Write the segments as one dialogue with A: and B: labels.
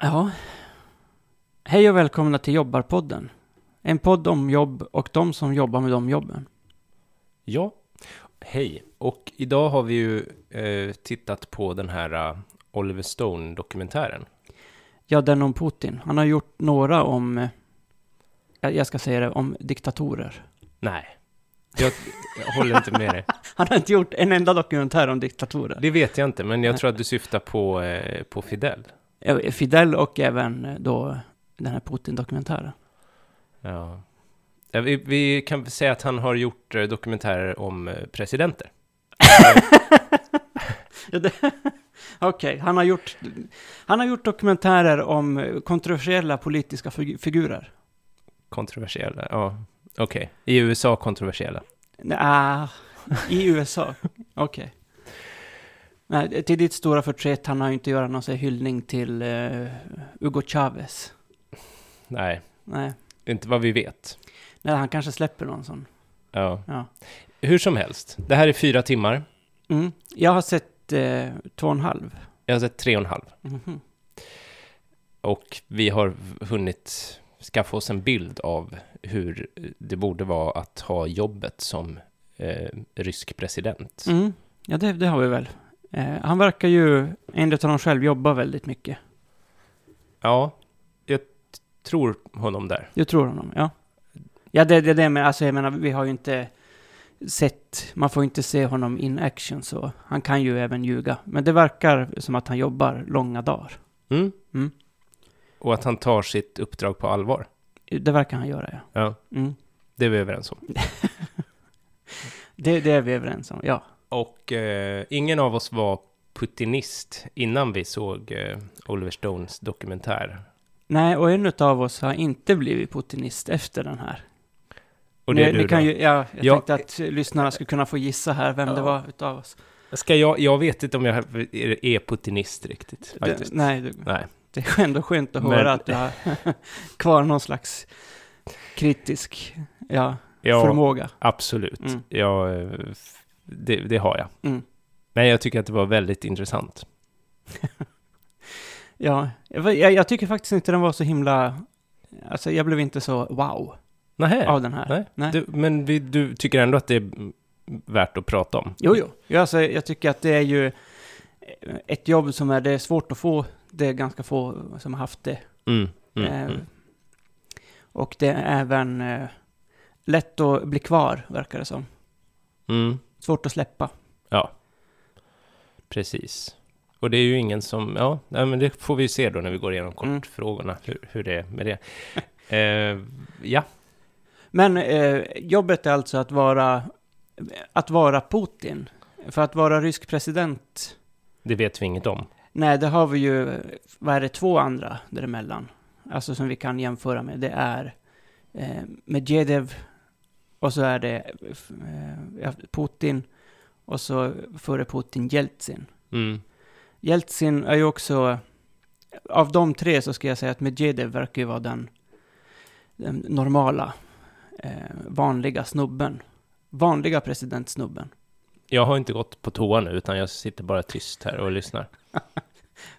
A: Ja. Hej och välkomna till Jobbarpodden. En podd om jobb och de som jobbar med de jobben.
B: Ja, hej. Och idag har vi ju eh, tittat på den här eh, Oliver Stone-dokumentären.
A: Ja, den om Putin. Han har gjort några om, eh, jag jag ska säga det, om diktatorer.
B: Nej, jag, jag håller inte med dig.
A: Han har inte gjort en enda dokumentär om diktatorer.
B: Det vet jag inte, men jag tror att du syftar på, eh, på Fidel.
A: Ja, Fidel och även eh, då den här Putin-dokumentären.
B: Ja. Ja, Vi, vi kan väl säga att han har gjort eh, dokumentärer om eh, presidenter.
A: Ja, det- Okej, han, har gjort- han har gjort dokumentärer om eh, kontroversiella politiska figu- figurer.
B: Kontroversiella, ja. Okej, i USA kontroversiella.
A: Nja, i USA. Okej. Nej, till ditt stora förtret han har ju inte göra någon sån här hyllning till eh, Hugo Chavez.
B: Nej,
A: Nej.
B: inte vad vi vet.
A: Nej, han kanske släpper någon sån.
B: Ja.
A: Ja.
B: Hur som helst, det här är fyra timmar.
A: Mm. Jag har sett eh, två och en halv.
B: Jag har sett tre och en halv.
A: Mhm.
B: Och vi har hunnit skaffa oss en bild av hur det borde vara att ha jobbet som eh, rysk president.
A: Mm. Ja, det, det har vi väl. Eh, han verkar ju, enligt honom själv, jobba väldigt mycket.
B: Ja, jag t- tror honom där.
A: Du tror honom, ja. Ja, det är det, det men alltså jag menar, vi har ju inte sett, man får ju inte se honom in action så han kan ju även ljuga. Men det verkar som att han jobbar långa dagar.
B: Mm.
A: Mm.
B: Och att han tar sitt uppdrag på allvar.
A: Det verkar han göra, ja.
B: Ja,
A: Mm.
B: det är vi överens om.
A: Det, det är vi överens om, ja.
B: Och eh, ingen av oss var putinist innan vi såg eh, Oliver Stones dokumentär.
A: Nej, och en av oss har inte blivit putinist efter den här.
B: Och det är
A: Ni-
B: du
A: ni
B: då?
A: kan ju, ja, jag
B: Ja.
A: tänkte att lyssnarna skulle kunna få gissa här vem det
B: Ja.
A: var utav oss.
B: Ska jag, jag vet inte om jag är- är putinist riktigt.
A: Det,
B: Faktiskt.
A: nej, det,
B: Nej.
A: det är ändå skönt att
B: Men-
A: höra att du har kvar någon slags kritisk, ja,
B: Jag,
A: förmåga.
B: Absolut.
A: Mm.
B: Jag, eh, f- det, det har jag.
A: Mm.
B: Men jag tycker att det var väldigt intressant.
A: Ja, jag, jag, jag tycker faktiskt inte den var så himla... Alltså jag blev inte så wow
B: Nähä,
A: av den här.
B: nej.
A: nej.
B: Du, men vi, du tycker ändå att det är mm, värt att prata om?
A: Jo, jo. Ja, alltså, jag tycker att det är ju eh, ett jobb som är, det är svårt att få. Det är ganska få som har haft det.
B: Mm, mm,
A: Eh,
B: mm.
A: Och det är även eh, lätt att bli kvar, verkar det som.
B: Mm,
A: Svårt att släppa.
B: precis. Och det är ju ingen som, ja, nej, men det får vi ju se då när vi går igenom
A: Mm.
B: kortfrågorna, hur, hur det är med det. Eh, ja,
A: Men eh, jobbet är alltså att vara, att vara Putin. För att vara rysk president
B: det vet vi inget om.
A: Nej, det har vi ju, vad är det, två andra däremellan. Alltså som vi kan jämföra med. Det är eh, Medvedev och så är det eh, ja, Putin och så före Putin Jeltsin.
B: Mm,
A: Jeltsin är ju också, av de tre så ska jag säga att Medvedev verkar ju vara den, den normala, eh, vanliga snubben. Vanliga presidentsnubben.
B: jag har inte gått på toa nu, utan jag sitter bara tyst här och lyssnar.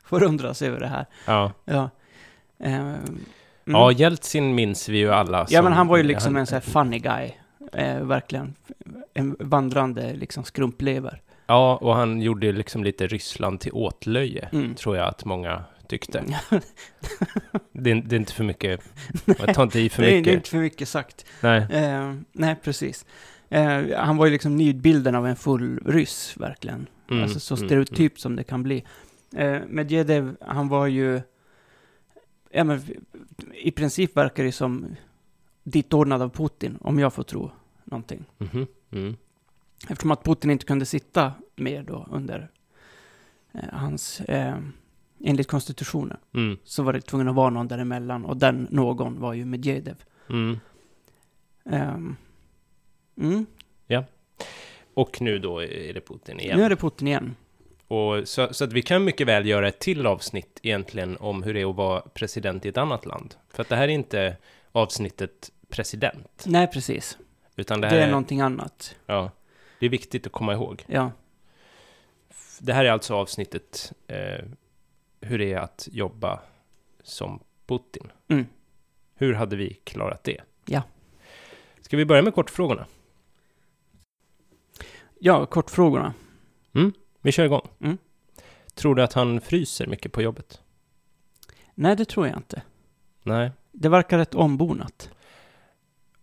A: Förundras över det här.
B: Ja,
A: Ja. Eh, mm.
B: ja Jeltsin minns vi ju alla.
A: Ja,
B: som-
A: men han var ju liksom en sån här funny guy. Eh, verkligen. En vandrande liksom skrumplever.
B: Ja, och han gjorde liksom lite Ryssland till åtlöje,
A: Mm.
B: tror jag att många tyckte. Det är, det är inte för mycket, jag tar inte i för
A: Det är- det är
B: mycket.
A: inte för mycket sagt.
B: Nej,
A: Eh, nej, precis. Eh, han var ju liksom nidbilden av en full ryss, verkligen.
B: Mm,
A: Alltså så
B: mm,
A: stereotyp som det kan bli. Eh, Medvedev, han var ju... Ja, men, I princip verkar det som ditordnad av Putin, om jag får tro någonting.
B: mhm, mm.
A: Eftersom att Putin inte kunde sitta mer då under eh, hans, eh, enligt konstitutionen,
B: Mm.
A: så var det tvungen att vara någon däremellan och den någon var ju Medvedev.
B: Mm.
A: Ehm, mm.
B: Och nu då är det Putin igen.
A: Nu är det Putin igen.
B: Och så, så att vi kan mycket väl göra ett till avsnitt egentligen om hur det är att vara president i ett annat land. För att det här är inte avsnittet president,
A: Nej, precis.
B: utan
A: Det
B: det
A: är,
B: här är,
A: någonting annat.
B: ja, det är viktigt att komma ihåg.
A: Ja.
B: Det här är alltså avsnittet eh, hur det är att jobba som Putin.
A: Mm.
B: Hur hade vi klarat det?
A: Ja.
B: Ska vi börja med kortfrågorna?
A: Ja, kortfrågorna.
B: Vi kör igång.
A: Mm.
B: Tror du att han fryser mycket på jobbet?
A: Nej, det tror jag inte.
B: Nej.
A: Det verkar rätt ombonat.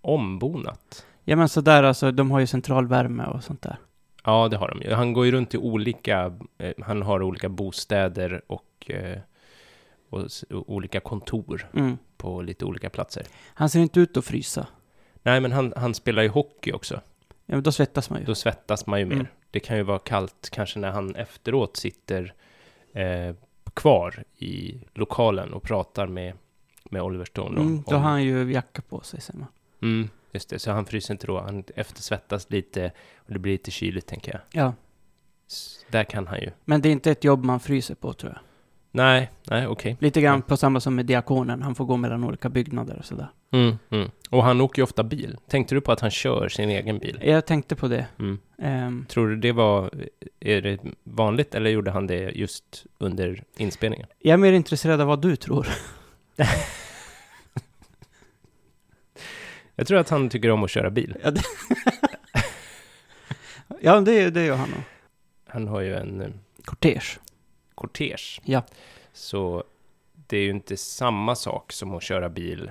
B: Ombonat?
A: Ja, men sådär alltså, de har ju central värme och sånt där.
B: Ja, det har de ju. Han går ju runt i olika... eh, Han har olika bostäder och, eh, och s- olika kontor
A: Mm.
B: på lite olika platser.
A: Han ser inte ut att frysa.
B: Nej, men han, han spelar ju hockey också.
A: Ja, men då svettas man ju.
B: Då svettas man ju mer.
A: Mm.
B: Det kan ju vara kallt kanske när han efteråt sitter eh, kvar i lokalen och pratar med, med Oliver Stone. om-
A: Mm, då
B: om-
A: har han ju jacka på sig, säger man.
B: Mm, just det, så han fryser inte då. Han eftersvettas lite och det blir lite kyligt tänker jag.
A: Ja,
B: S- Där kan han ju.
A: men det är inte ett jobb man fryser på, tror jag.
B: Nej, nej, okej.
A: Lite grann på samma som med diakonen, han får gå mellan olika byggnader och sådär.
B: Mm, mm. Och han åker ju ofta bil. Tänkte du på att han kör sin egen bil?
A: Jag tänkte på det.
B: Mm.
A: Ehm,
B: Tror du det var, är det vanligt eller gjorde han det just under inspelningen?
A: jag är mer intresserad av vad du tror.
B: Jag tror att han tycker om att köra bil.
A: Ja, det, ja, det, det gör han nog.
B: Han har ju en eh,
A: Kortege.
B: kortege.
A: Ja.
B: Så det är ju inte samma sak som att köra bil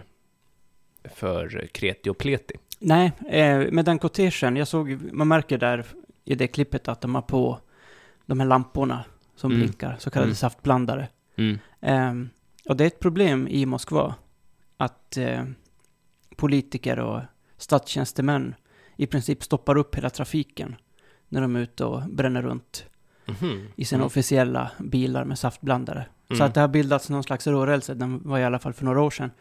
B: för kreti och pleti.
A: Nej, eh, med den kortegen, jag såg, man märker där i det klippet att de har på de här lamporna som
B: Mm.
A: blinkar, så kallade
B: Mm.
A: saftblandare. Ehm, och det är ett problem i Moskva att eh, politiker och statstjänstemän i princip stoppar upp hela trafiken när de är ute och bränner runt
B: Mhm.
A: i sina officiella bilar med saftblandare. Så
B: Mm.
A: att det har bildats någon slags rörelse, den var i alla fall för några år sedan,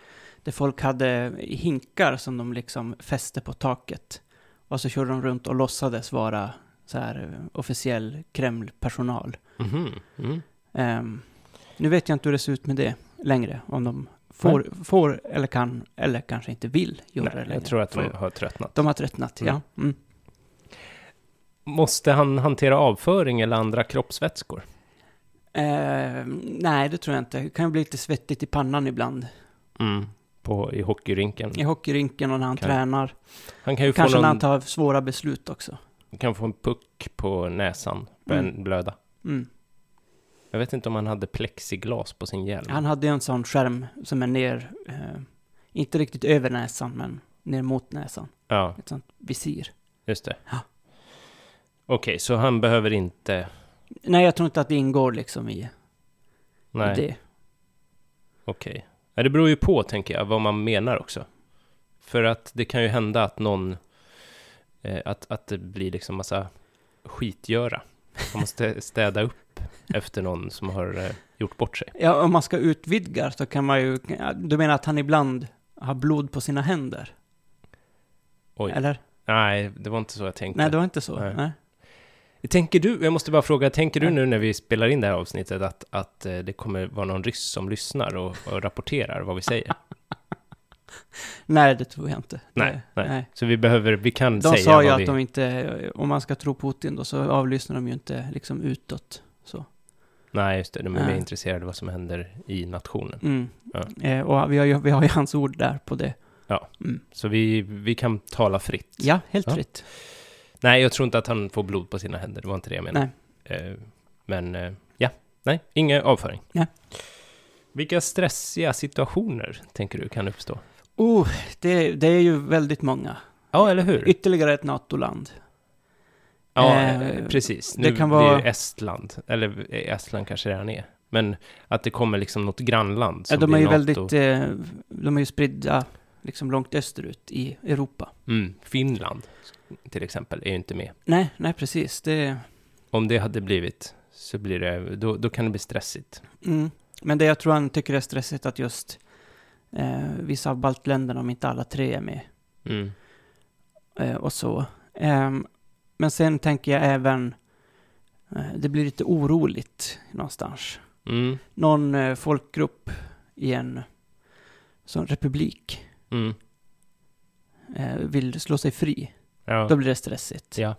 A: där folk hade hinkar som de liksom fäste på taket. Och så körde de runt och låtsades vara så här eh, officiell Kreml-personal.
B: Mhm. Mm.
A: Ehm, nu vet jag inte hur det ser ut med det längre, om de får, får eller kan, eller kanske inte vill göra det
B: Nej,
A: längre.
B: jag tror att de
A: För
B: har tröttnat.
A: de har tröttnat,
B: Mm.
A: ja. Mm.
B: Måste han hantera avföring eller andra kroppsvätskor?
A: Ehm, nej, det tror jag inte. Det kan ju bli lite svettigt i pannan ibland. Mm.
B: På, I hockeyrinken.
A: I hockeyrinken och när han
B: Mm. Kan-
A: tränar.
B: Han kan ju
A: Kanske
B: få,
A: när han
B: någon,
A: tar svåra beslut också.
B: kan få en puck på näsan, börja
A: Mm.
B: blöda.
A: Mm.
B: Jag vet inte om han hade plexiglas på sin hjälm.
A: Han hade ju en sån skärm som är ner, eh, inte riktigt över näsan, men ner mot näsan.
B: Ja,
A: Ett sånt visir.
B: just det.
A: Ja.
B: Okej, så han behöver inte...
A: Nej, jag tror inte att det ingår liksom i, i
B: Nej.
A: det.
B: Okej. Ja, det beror ju på, tänker jag, vad man menar också. För att det kan ju hända att någon... Eh, att, att det blir liksom massa skitgöra. Man måste städa upp efter någon som har eh, gjort bort sig.
A: Ja, om man ska utvidga så kan man ju... Du menar att han ibland har blod på sina händer?
B: Oj.
A: Eller?
B: Nej, det var inte så jag tänkte.
A: Nej, det var inte så.
B: Nej.
A: Nej.
B: Tänker du, jag måste bara fråga, tänker du
A: Ja.
B: nu när vi spelar in det här avsnittet att, att eh, det kommer vara någon ryss som lyssnar och, och rapporterar vad vi säger?
A: Nej, det tror jag inte.
B: Nej,
A: Det-
B: nej. Så vi behöver, vi kan
A: De
B: säga
A: sa ju
B: vad
A: att
B: vi...
A: de inte... Om man ska tro Putin då så avlyssnar de ju inte liksom utåt. Så.
B: Nej, just det, de är
A: Nej.
B: mer intresserade av vad som händer i nationen.
A: Mm.
B: Ja.
A: Eh, och vi har, ju, vi har ju hans ord där på det.
B: Ja.
A: Mm.
B: Så vi, vi kan tala fritt.
A: Ja, helt
B: Ja.
A: fritt.
B: Nej, jag tror inte att han får blod på sina händer. Det var inte det jag menade. Eh, men eh, ja, nej, ingen avföring.
A: Nej.
B: Vilka stressiga situationer tänker du kan uppstå?
A: Oh, det, det är ju väldigt många.
B: Ja, eller hur?
A: Ytterligare ett NATO-land.
B: Ja,
A: eh,
B: eh, precis. Nu
A: det kan
B: blir
A: vara-
B: det Estland, eller eh, Estland kanske redan är. Men att det kommer liksom något grannland som
A: Ja, de
B: blir
A: är ju
B: NATO.
A: väldigt... Eh, de är ju spridda liksom långt österut i Europa.
B: Mm, Finland, till exempel, är ju inte med.
A: Nej, nej precis. Det,
B: Om det hade blivit, så blir det, då, då kan det bli stressigt.
A: mm. Men det jag tror han tycker är stressigt att just eh, vissa av baltländerna, om inte alla tre är med
B: Mm.
A: eh, och så. Ehm, men sen tänker jag även, eh, det blir lite oroligt någonstans.
B: Mm.
A: Någon eh, folkgrupp i en sån republik
B: Mm.
A: eh, vill slå sig fri.
B: Ja.
A: Då blir det stressigt.
B: Ja.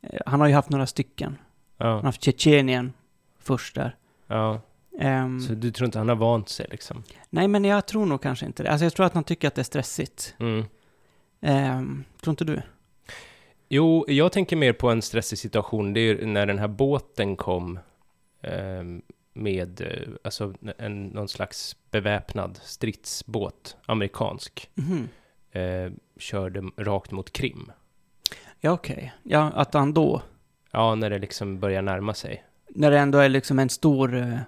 A: Eh, han har ju haft några stycken. Han har
B: Ja.
A: haft Tjetjenien först där.
B: ja.
A: Ehm,
B: Så du tror inte han har vant sig liksom?
A: Nej, men jag tror nog kanske inte det. Alltså jag tror att han tycker att det är stressigt.
B: Mm.
A: Ehm, tror inte du?
B: Jo, jag tänker mer på en stressig situation. Det är ju när den här båten kom ehm, med eh, alltså, en, någon slags beväpnad stridsbåt, amerikansk,
A: Mhm.
B: eh, körde rakt mot Krim.
A: Ja, okej. Ja, att han då,
B: Ja, när det liksom börjar närma sig.
A: när det ändå är liksom en stor, eh,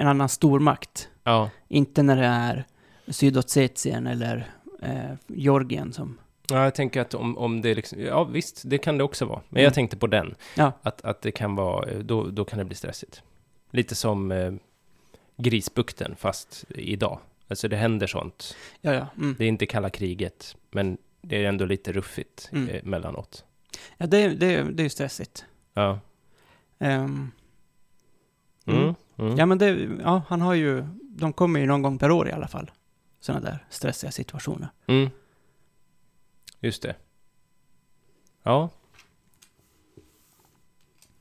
A: en annan stormakt.
B: Ja,
A: Inte när det är Sydossetien eller eh, Georgien som...
B: ja jag tänker att om, om det liksom, ja visst, det kan det också vara. Men
A: Mm.
B: jag tänkte på den.
A: Ja.
B: Att, att det kan vara, eh, då, då kan det bli stressigt. Lite som eh, Grisbukten, fast idag. Alltså det händer sånt.
A: Ja, ja. Mm.
B: Det är inte kalla kriget, men det är ändå lite ruffigt
A: Mm.
B: eh, mellanåt.
A: ja det, det, det är ju stressigt.
B: Ja.
A: Ehm,
B: Mm.
A: Mm.
B: Mm.
A: Ja, men det, ja, han har ju, de kommer ju någon gång per år i alla fall. Sådana där stressiga situationer.
B: Mm. Just det. Ja.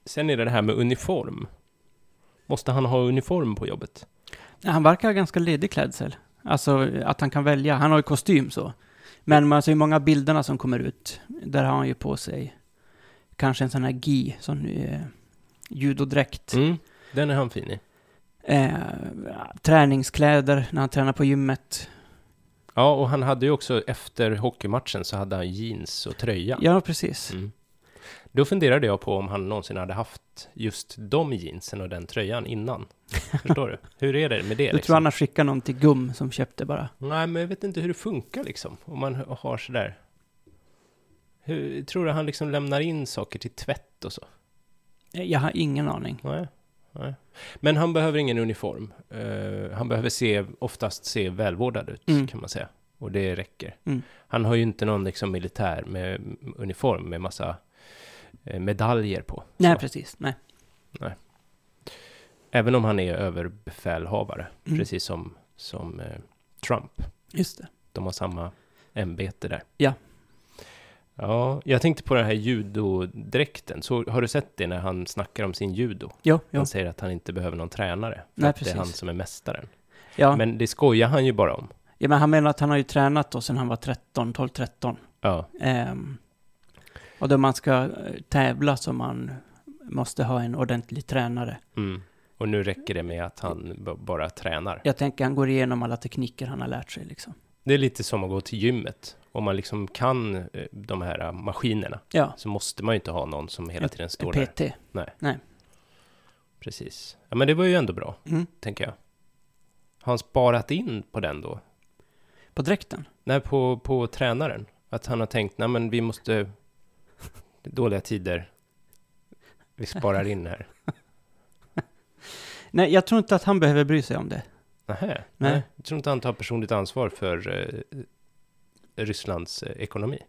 B: Sen är det det här med uniform. Måste han ha uniform på jobbet?
A: Ja, Han verkar ha ganska ledig klädsel. Alltså att han kan välja. Han har ju kostym så. Men man ser ju många av bilderna som kommer ut. Där har han ju på sig kanske en sån här gi, sån eh, judodräkt.
B: Mm. Den är han fin i.
A: Eh, träningskläder när han tränar på gymmet.
B: Ja, och han hade ju också efter hockeymatchen så hade han jeans och tröja.
A: Ja, precis.
B: Mm. Då funderade jag på om han någonsin hade haft just de jeansen och den tröjan innan. Förstår du? Hur är det med det? liksom?
A: Du tror han har skickat någon till GUM som köpte bara.
B: Nej, men jag vet inte hur det funkar liksom, om man har sådär. Hur, tror du han liksom lämnar in saker till tvätt och så?
A: Eh, Jag har ingen aning.
B: Nej, nej. Men han behöver ingen uniform. Eh, han behöver se, oftast se välvårdad ut,
A: Mm.
B: kan man säga. Och det räcker.
A: Mm.
B: Han har ju inte någon liksom militär med uniform med massa eh, medaljer på.
A: Nej,
B: så.
A: precis. Nej.
B: Även om han är överbefälhavare,
A: Mm.
B: precis som, som eh, Trump.
A: Just det.
B: De har samma ämbete där.
A: Ja.
B: Ja, jag tänkte på den här judodräkten. Så har du sett det när han snackar om sin judo?
A: Jo,
B: Han
A: jo.
B: säger att han inte behöver någon tränare. För
A: Nej,
B: att det
A: precis.
B: är han som är mästaren.
A: Ja. Men...
B: Men det skojar han ju bara om.
A: ja, men han menar att han har ju tränat då sedan han var 13, 12-13.
B: Ja,
A: Ehm, och då man ska eh, tävla så man måste ha en ordentlig tränare.
B: mm. Och nu räcker det med att han b- bara tränar.
A: Jag tänker han går igenom alla tekniker han har lärt sig liksom.
B: Det är lite som att gå till gymmet. Om man liksom kan eh, de här eh, maskinerna
A: Ja,
B: så måste man ju inte ha någon som hela tiden
A: en
B: står där.
A: PT.
B: Precis. Ja, men det var ju ändå bra,
A: Mm.
B: tänker jag. Har han sparat in på den då?
A: På dräkten.
B: Nej, på, på tränaren. Att han har tänkt, nej men vi måste... det är Dåliga tider. Vi sparar in här.
A: Nej, jag tror inte att han behöver bry sig om det.
B: Nähä, nej.
A: Nej.
B: Jag tror inte han tar personligt ansvar för eh, Rysslands eh, ekonomi.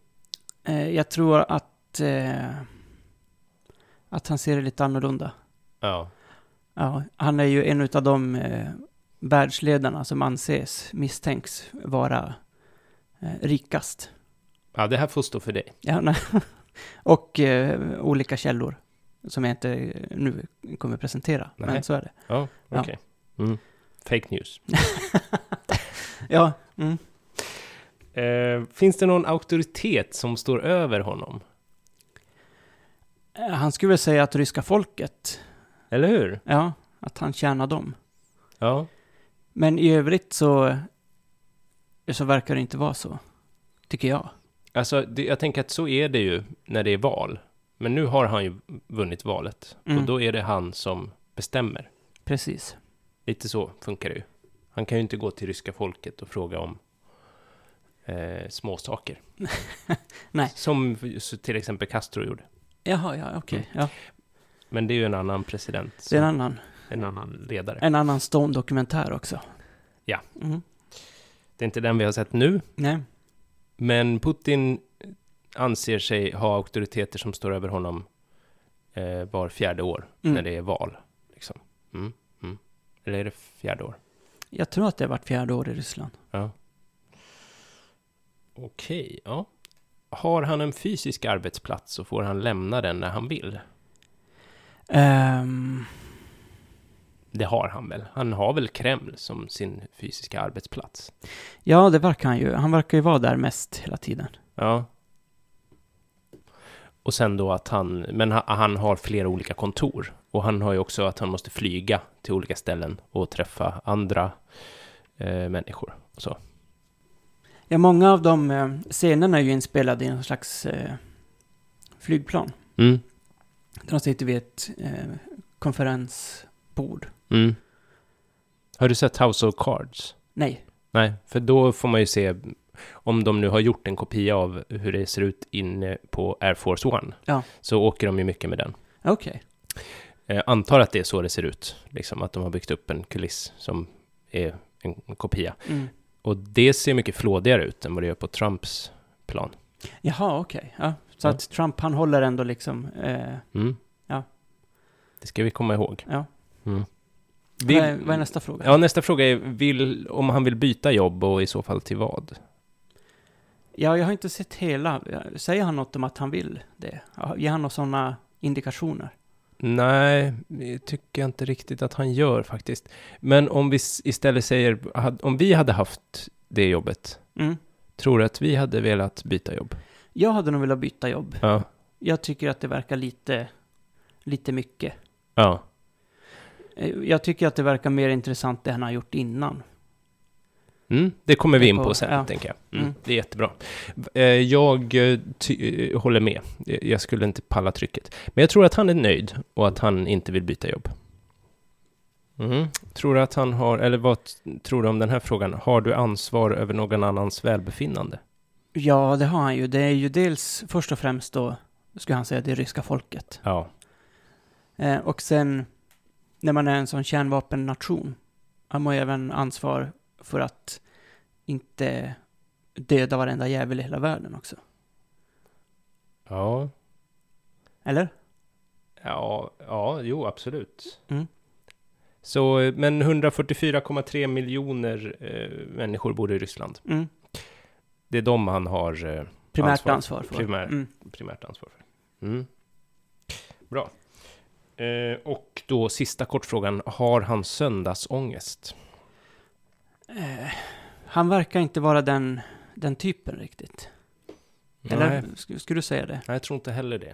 A: Eh, jag tror att, eh, att han ser det lite annorlunda.
B: Ja.
A: Ja, han är ju en av de eh, världsledarna som anses, misstänks vara eh, rikast.
B: ja, det här får stå för dig.
A: Ja, nej. och eh, olika källor som jag inte eh, nu kommer presentera,
B: Nej.
A: men så är det.
B: Ja,
A: Ja.
B: okej. Mm. Fake news.
A: Ja, mm.
B: Eh, finns det någon auktoritet som står över honom?
A: Eh, han skulle väl säga att ryska folket,
B: Eller hur?
A: ja, att han tjänar dem.
B: Ja.
A: Men i övrigt så, eh, så verkar det inte vara så, tycker jag.
B: Alltså, det, jag tänker att så är det ju när det är val. Men nu har han ju vunnit valet.
A: Mm.
B: Och då är det han som bestämmer.
A: Precis.
B: Lite så funkar det ju. Han kan ju inte gå till ryska folket och fråga om eh, småsaker.
A: Nej.
B: Som f- så till exempel Castro gjorde.
A: Jaha, ja, okej.
B: Mm.
A: Ja,
B: Men det är ju en annan president.
A: det är en
B: som-
A: annan,
B: en annan ledare.
A: en annan Stone-dokumentär också.
B: Ja.
A: Mm.
B: Det är inte den vi har sett nu.
A: Nej.
B: Men Putin anser sig ha auktoriteter som står över honom eh, var fjärde år
A: Mm.
B: när det är val. Liksom. Mm, mm. Eller är det fjärde år?
A: Jag tror att det har varit fjärde år i Ryssland.
B: Okej, ja. Har han en fysisk arbetsplats så får han lämna den när han vill.
A: Ehm,
B: Det har han väl? Han har väl Kreml som sin fysiska arbetsplats?
A: Ja, det verkar han ju. Han verkar ju vara där mest hela tiden.
B: Ja. Och sen då att han, men ha- han har flera olika kontor. Och han har ju också att han måste flyga till olika ställen och träffa andra eh, människor. Och så.
A: Ja, många av de eh, scenerna är ju inspelade i någon slags eh, flygplan.
B: Mm,
A: De sitter vid ett eh, konferensbord.
B: mm. Har du sett House of Cards?
A: Nej,
B: Nej, för då får man ju se om de nu har gjort en kopia av hur det ser ut inne på Air Force One.
A: Ja.
B: Så åker de ju mycket med den.
A: okej.
B: Eh, antar att det är så det ser ut, liksom att de har byggt upp en kuliss som är en kopia.
A: Mm.
B: Och det ser mycket flådigare ut än vad det gör på Trumps plan.
A: Jaha, okej. Ja, så
B: Ja.
A: att Trump, han håller ändå liksom... Eh,
B: Mm.
A: Ja.
B: Det ska vi komma ihåg.
A: ja.
B: Mm.
A: Vad, är, vad är nästa fråga?
B: Ja, nästa fråga är vill, om han vill byta jobb och i så fall till vad?
A: Ja, jag har inte sett hela. Säger han något om att han vill det? Ja, Ger han några sådana indikationer?
B: Nej, det tycker jag inte riktigt att han gör faktiskt. Men om vi s- istället säger, had- om vi hade haft det jobbet,
A: Mm.
B: tror du att vi hade velat byta jobb?
A: Jag hade nog velat byta jobb.
B: Ja.
A: Jag tycker att det verkar lite, lite mycket.
B: Ja.
A: Eh, Jag tycker att det verkar mer intressant det han har gjort innan.
B: Mm, det kommer vi in
A: På-
B: på sen,
A: ja.
B: tänker jag. Mm,
A: Mm.
B: det är jättebra. Eh, Jag eh, ty- eh, håller med. Eh, Jag skulle inte palla trycket. Men jag tror att han är nöjd och att han inte vill byta jobb. Mm. Tror du att han har, eller vad t- tror du om den här frågan? Har du ansvar över någon annans välbefinnande?
A: Ja, det har han ju. Det är ju dels först och främst då, skulle han säga, det ryska folket.
B: Ja.
A: Eh, och sen, när man är en sån kärnvapennation, har man ju även ansvar för att inte döda varenda jävel i hela världen också.
B: Ja.
A: Eller?
B: Ja, ja jo, absolut.
A: Mm.
B: Så, eh, men 144,3 miljoner eh, människor bor i Ryssland.
A: Mm.
B: Det är de han har eh,
A: Primärt ansvar,
B: Ansvar.
A: för.
B: Primär.
A: Mm.
B: primärt ansvar för. Mm. Bra. Eh, och då sista kortfrågan. Har han söndagsångest?
A: Eh, han verkar inte vara den, den typen riktigt. Eller
B: Nej,
A: sk- skulle du säga det?
B: jag tror inte heller det.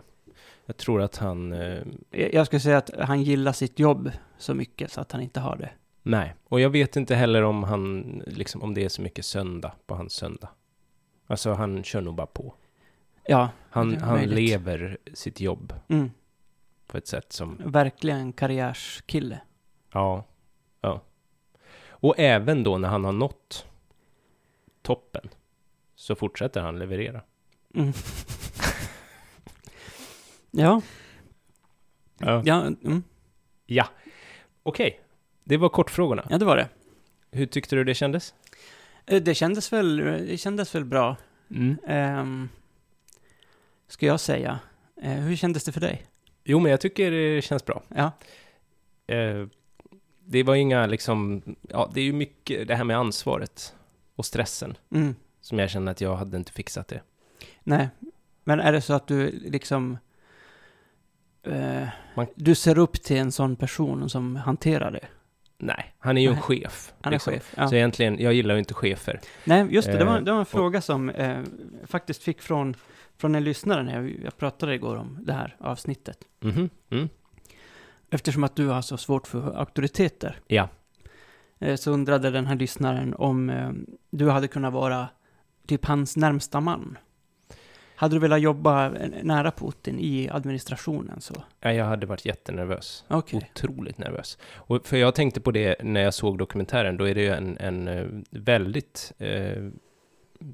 B: Jag tror att han... Eh,
A: Jag jag skulle säga att han gillar sitt jobb så mycket så att han inte har det.
B: nej. Och jag vet inte heller om han... Liksom, om det är så mycket söndag på hans söndag. Alltså, han kör nog bara på.
A: Ja,
B: Han,
A: Det är
B: han
A: möjligt.
B: lever sitt jobb
A: mm.
B: på ett sätt som...
A: verkligen karriärskille.
B: Ja. Ja. Och även då när han har nått toppen så fortsätter han leverera.
A: Mm. ja,
B: Ja.
A: ja, mm.
B: Okej, det var kortfrågorna.
A: ja, det var det.
B: Hur tyckte du det kändes?
A: Eh, Det kändes väl, det kändes väl bra, um, ska jag säga. Eh, hur kändes det för dig?
B: Jo, men jag tycker det känns bra.
A: Ja,
B: Eh, det var inga liksom, ja, det är ju mycket det här med ansvaret och stressen
A: mm.
B: som jag känner att jag hade inte fixat det.
A: nej. Men är det så att du liksom... eh,
B: Man-
A: Du ser upp till en sån person som hanterar det?
B: Nej, han är ju en
A: Nej.
B: chef.
A: Han är
B: liksom.
A: chef? Ja.
B: Så egentligen, jag gillar ju inte chefer.
A: Nej, just det. Det var,
B: Eh,
A: det var en
B: och-
A: fråga som eh, faktiskt fick från, från en lyssnare när jag, jag pratade igår om det här avsnittet.
B: Mhm, Mm.
A: Eftersom att du har så svårt för auktoriteter.
B: Ja.
A: Eh, så undrade den här lyssnaren om eh, du hade kunnat vara typ hans närmsta man. Hade du velat jobba eh, nära Putin i administrationen så?
B: Ja, Jag hade varit jättenervös.
A: Okej.
B: Otroligt nervös. Och för jag tänkte på det när jag såg dokumentären, då är det ju en, en eh, väldigt eh,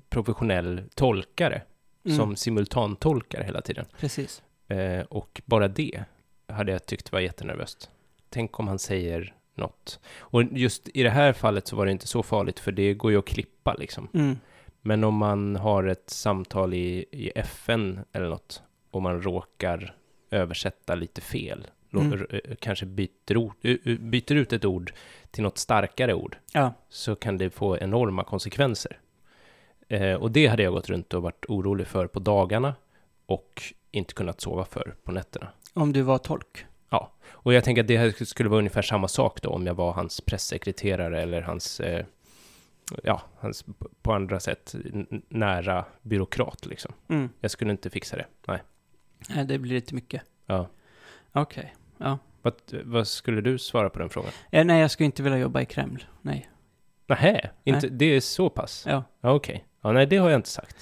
B: professionell tolkare
A: Mm,
B: som simultantolkar hela tiden.
A: Precis.
B: Eh, och bara det hade jag tyckt var jättenervöst. Tänk om han säger något. Och just i det här fallet så var det inte så farligt, för det går ju att klippa liksom.
A: Mm.
B: Men om man har ett samtal i, i FN eller något, och man råkar översätta lite fel, lå-
A: Mm.
B: r- eh, kanske byter, ord, eh, eh, byter ut ett ord till något starkare ord,
A: Ja.
B: så kan det få enorma konsekvenser. Eh, och det hade jag gått runt och varit orolig för på dagarna och inte kunnat sova för på nätterna.
A: Om du var tolk.
B: Ja, och jag tänker att det här skulle vara ungefär samma sak då om jag var hans pressekreterare eller hans, eh, ja, hans p- på andra sätt n- nära byråkrat liksom.
A: Mm.
B: Jag skulle inte fixa det. Nej.
A: Nej, det blir lite mycket.
B: Ja.
A: Okej.
B: Vad, vad skulle du svara på den frågan?
A: Eh, nej, jag skulle inte vilja jobba i Kreml. Nej.
B: Nähä, inte, det är så pass?
A: Ja.
B: Ja, okej. Ja, nej, det har jag inte sagt.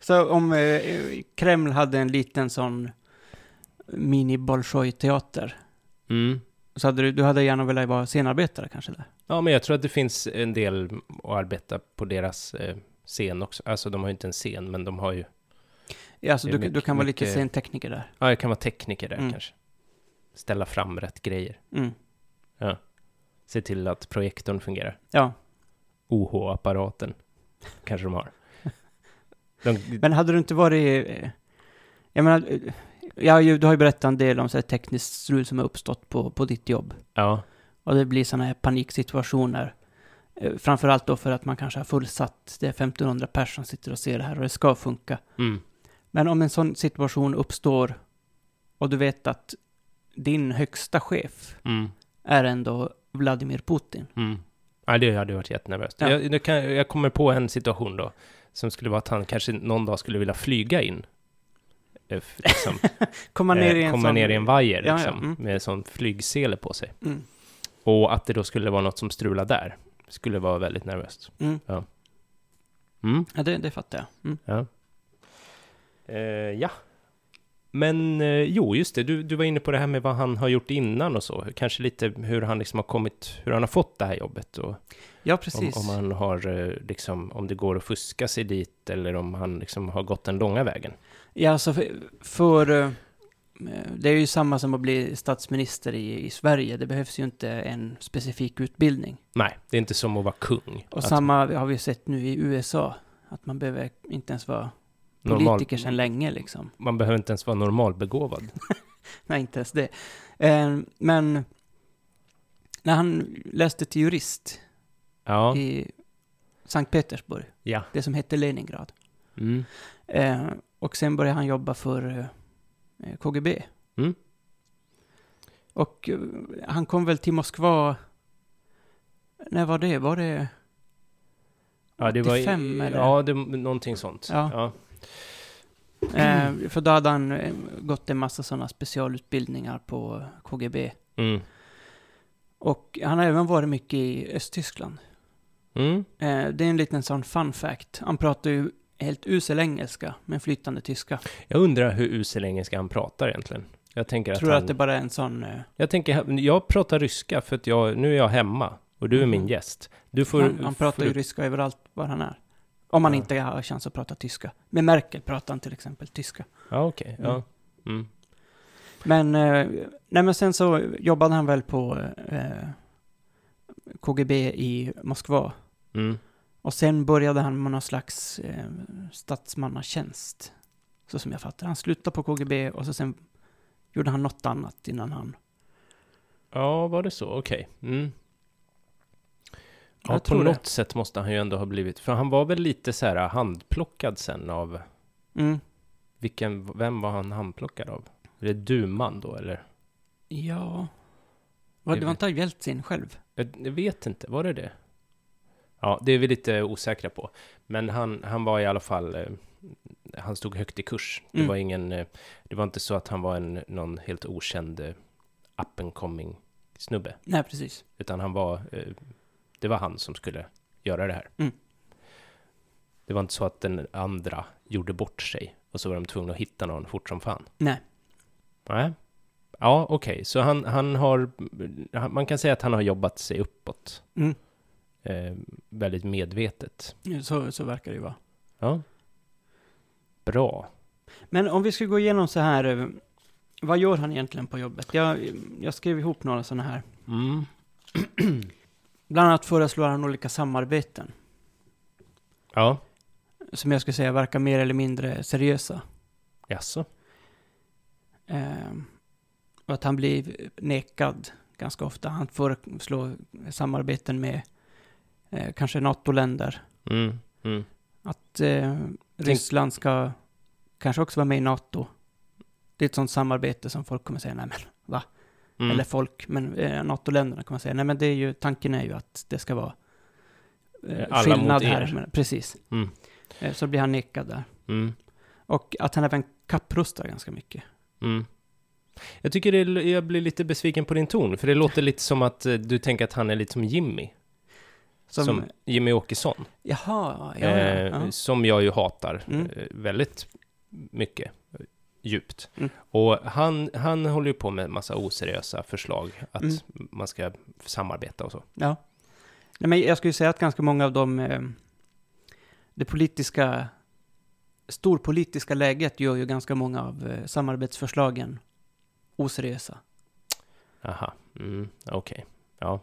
A: Så om eh, Kreml hade en liten sån mini teater
B: Mm.
A: så hade du, du hade gärna velat vara scenarbetare kanske där?
B: Ja, men jag tror att det finns en del att arbeta på deras eh, scen också. Alltså, de har ju inte en scen, men de har ju...
A: Ja, alltså
B: Det är
A: du,
B: mycket-
A: du kan vara lite
B: mycket-
A: scentekniker där.
B: Ja, jag kan vara tekniker där
A: Mm.
B: kanske. Ställa fram rätt grejer.
A: Mm.
B: Se till att projektorn fungerar.
A: Ja,
B: OH-apparaten kanske de har. De,
A: men hade du inte varit... eh, Jag menar, eh, jag har ju, du har ju berättat en del om så här tekniskt strul som har uppstått på, på ditt jobb.
B: ja,
A: Och det blir sådana här paniksituationer. Eh, Framförallt då för att man kanske har fullsatt, det är 1500 personer som sitter och ser det här och det ska funka.
B: mm,
A: Men om en sån situation uppstår och du vet att din högsta chef
B: mm,
A: är ändå Vladimir Putin.
B: mm. Ja, det hade varit jättenervöst.
A: Ja.
B: Jag, nu kan, jag kommer på en situation då, som skulle vara att han kanske någon dag skulle vilja flyga in. Eh, f- Liksom,
A: Komma ner i
B: eh,
A: en
B: komma
A: sån...
B: ner i en vajer
A: Ja, ja,
B: liksom,
A: mm.
B: med en sån flygsele på sig.
A: Mm,
B: Och att det då skulle vara något som strulade där, skulle vara väldigt nervöst.
A: mm.
B: Mm.
A: Ja, det, det fattar jag. Mm.
B: Eh, ja. Men eh, jo, just det, du, du var inne på det här med vad han har gjort innan och så. Kanske lite hur han liksom har kommit, hur han har fått det här jobbet och
A: Ja,
B: om,
A: precis.
B: om han har eh, liksom, om det går att fuska sig dit eller om han liksom har gått den långa vägen.
A: Ja, alltså för, för... eh, Det är ju samma som att bli statsminister i, i Sverige. Det behövs ju inte en specifik utbildning.
B: Nej, det är inte som att vara kung.
A: Och
B: Att
A: samma har vi sett nu i USA. Att man behöver inte ens vara
B: normal-
A: politiker sedan länge liksom.
B: Man behöver inte ens vara normalbegåvad.
A: Nej, inte ens det. Eh, Men när han läste till jurist
B: Ja,
A: i Sankt Petersburg,
B: ja.
A: det som hette Leningrad,
B: Mm.
A: eh, och sen började han jobba för eh, KGB.
B: Mm.
A: Och eh, han kom väl till Moskva, när var det? Var det...
B: Ja, det var,
A: 85 eller?
B: Ja, det, någonting sånt.
A: Ja.
B: Ja.
A: Eh, för då hade han eh, gått en massa sådana specialutbildningar på KGB.
B: Mm.
A: Och han har även varit mycket i Östtyskland.
B: Mm.
A: Eh, det är en liten sån fun fact. Han pratar ju helt usel engelska, men flytande tyska.
B: Jag undrar hur usel engelska han pratar egentligen. Jag tänker
A: Tror
B: att
A: du
B: han...
A: att det bara är en sån... eh,
B: Jag tänker, jag pratar ryska för att jag, nu är jag hemma och du är min
A: Mhm.
B: gäst. Du får...
A: han, han pratar
B: får
A: ju
B: du-
A: ryska överallt var han är. Om han
B: Ja.
A: inte har chans att prata tyska. Med Merkel pratar han till exempel tyska.
B: Ja, okej.
A: Mm.
B: Ja. Mm.
A: Men, eh, nej men sen så jobbade han väl på eh, KGB i Moskva.
B: Mm.
A: Och sen började han med någon slags eh, statsmannatjänst. Så som jag fattar Han slutade på KGB och så sen gjorde han något annat innan han...
B: Ja, var det så? Okej. Mm. Ja,
A: Jag
B: på
A: tror det.
B: något sätt måste han ju ändå ha blivit, för han var väl lite så här handplockad sen av,
A: Mm.
B: vilken, vem var han handplockad av? Är det Duman då eller?
A: Ja... Var,
B: Det
A: det
B: är
A: var
B: väl-
A: inte Jeltsin själv?
B: Jag, jag vet inte, var det det? Ja, det är vi lite osäkra på. Men han, han var i alla fall, eh, han stod högt i kurs. Det
A: Mm.
B: var ingen, eh, det var inte så att han var en, någon helt okänd eh, up and coming snubbe.
A: Nej, precis.
B: Utan han var, eh, det var han som skulle göra det här.
A: Mm.
B: Det var inte så att den andra gjorde bort sig och så var de tvungna att hitta någon fort som fan.
A: Nej.
B: Nej. Ja, okej, så han, han har, han- man kan säga att han har jobbat sig uppåt.
A: Mm.
B: Eh, väldigt medvetet.
A: Så, så verkar det ju vara.
B: Ja. Bra.
A: Men om vi ska gå igenom så här, eh, vad gör han egentligen på jobbet? Jag, jag skrev ihop några sådana här.
B: Mm.
A: Bland annat föreslår han olika samarbeten
B: Ja,
A: som jag skulle säga verkar mer eller mindre seriösa.
B: jaså?
A: Eh, och att han blir nekad ganska ofta. Han föreslår samarbeten med eh, kanske NATO-länder.
B: Mm, mm.
A: Att eh, Ryssland ska kanske också vara med i NATO. det är ett sånt samarbete som folk kommer säga, nej men va?
B: Mm.
A: Eller folk, men eh, NATO-länderna kommer säga, nej men det är ju, tanken är ju att det ska vara eh,
B: Alla mot
A: skillnad
B: er.
A: här. Men, precis.
B: Mm.
A: Eh, så blir han nekad där.
B: Mm.
A: Och att han även kapprustar ganska mycket.
B: Mm. Jag tycker det, jag blir lite besviken på din ton, för det låter lite som att eh, du tänker att han är lite som Jimmy. Som,
A: Som,
B: Jimmy Åkesson.
A: jaha, ja,
B: eh,
A: ja, ja.
B: Som jag ju hatar
A: Mm.
B: eh, väldigt mycket eh, djupt.
A: Mm.
B: Och han, han håller ju på med en massa oseriösa förslag att
A: Mm.
B: man ska samarbeta och så.
A: ja. Nej, men jag skulle säga att ganska många av de, eh, det politiska, storpolitiska läget gör ju ganska många av eh, samarbetsförslagen oseriösa.
B: Aha, mm, okej. Ja.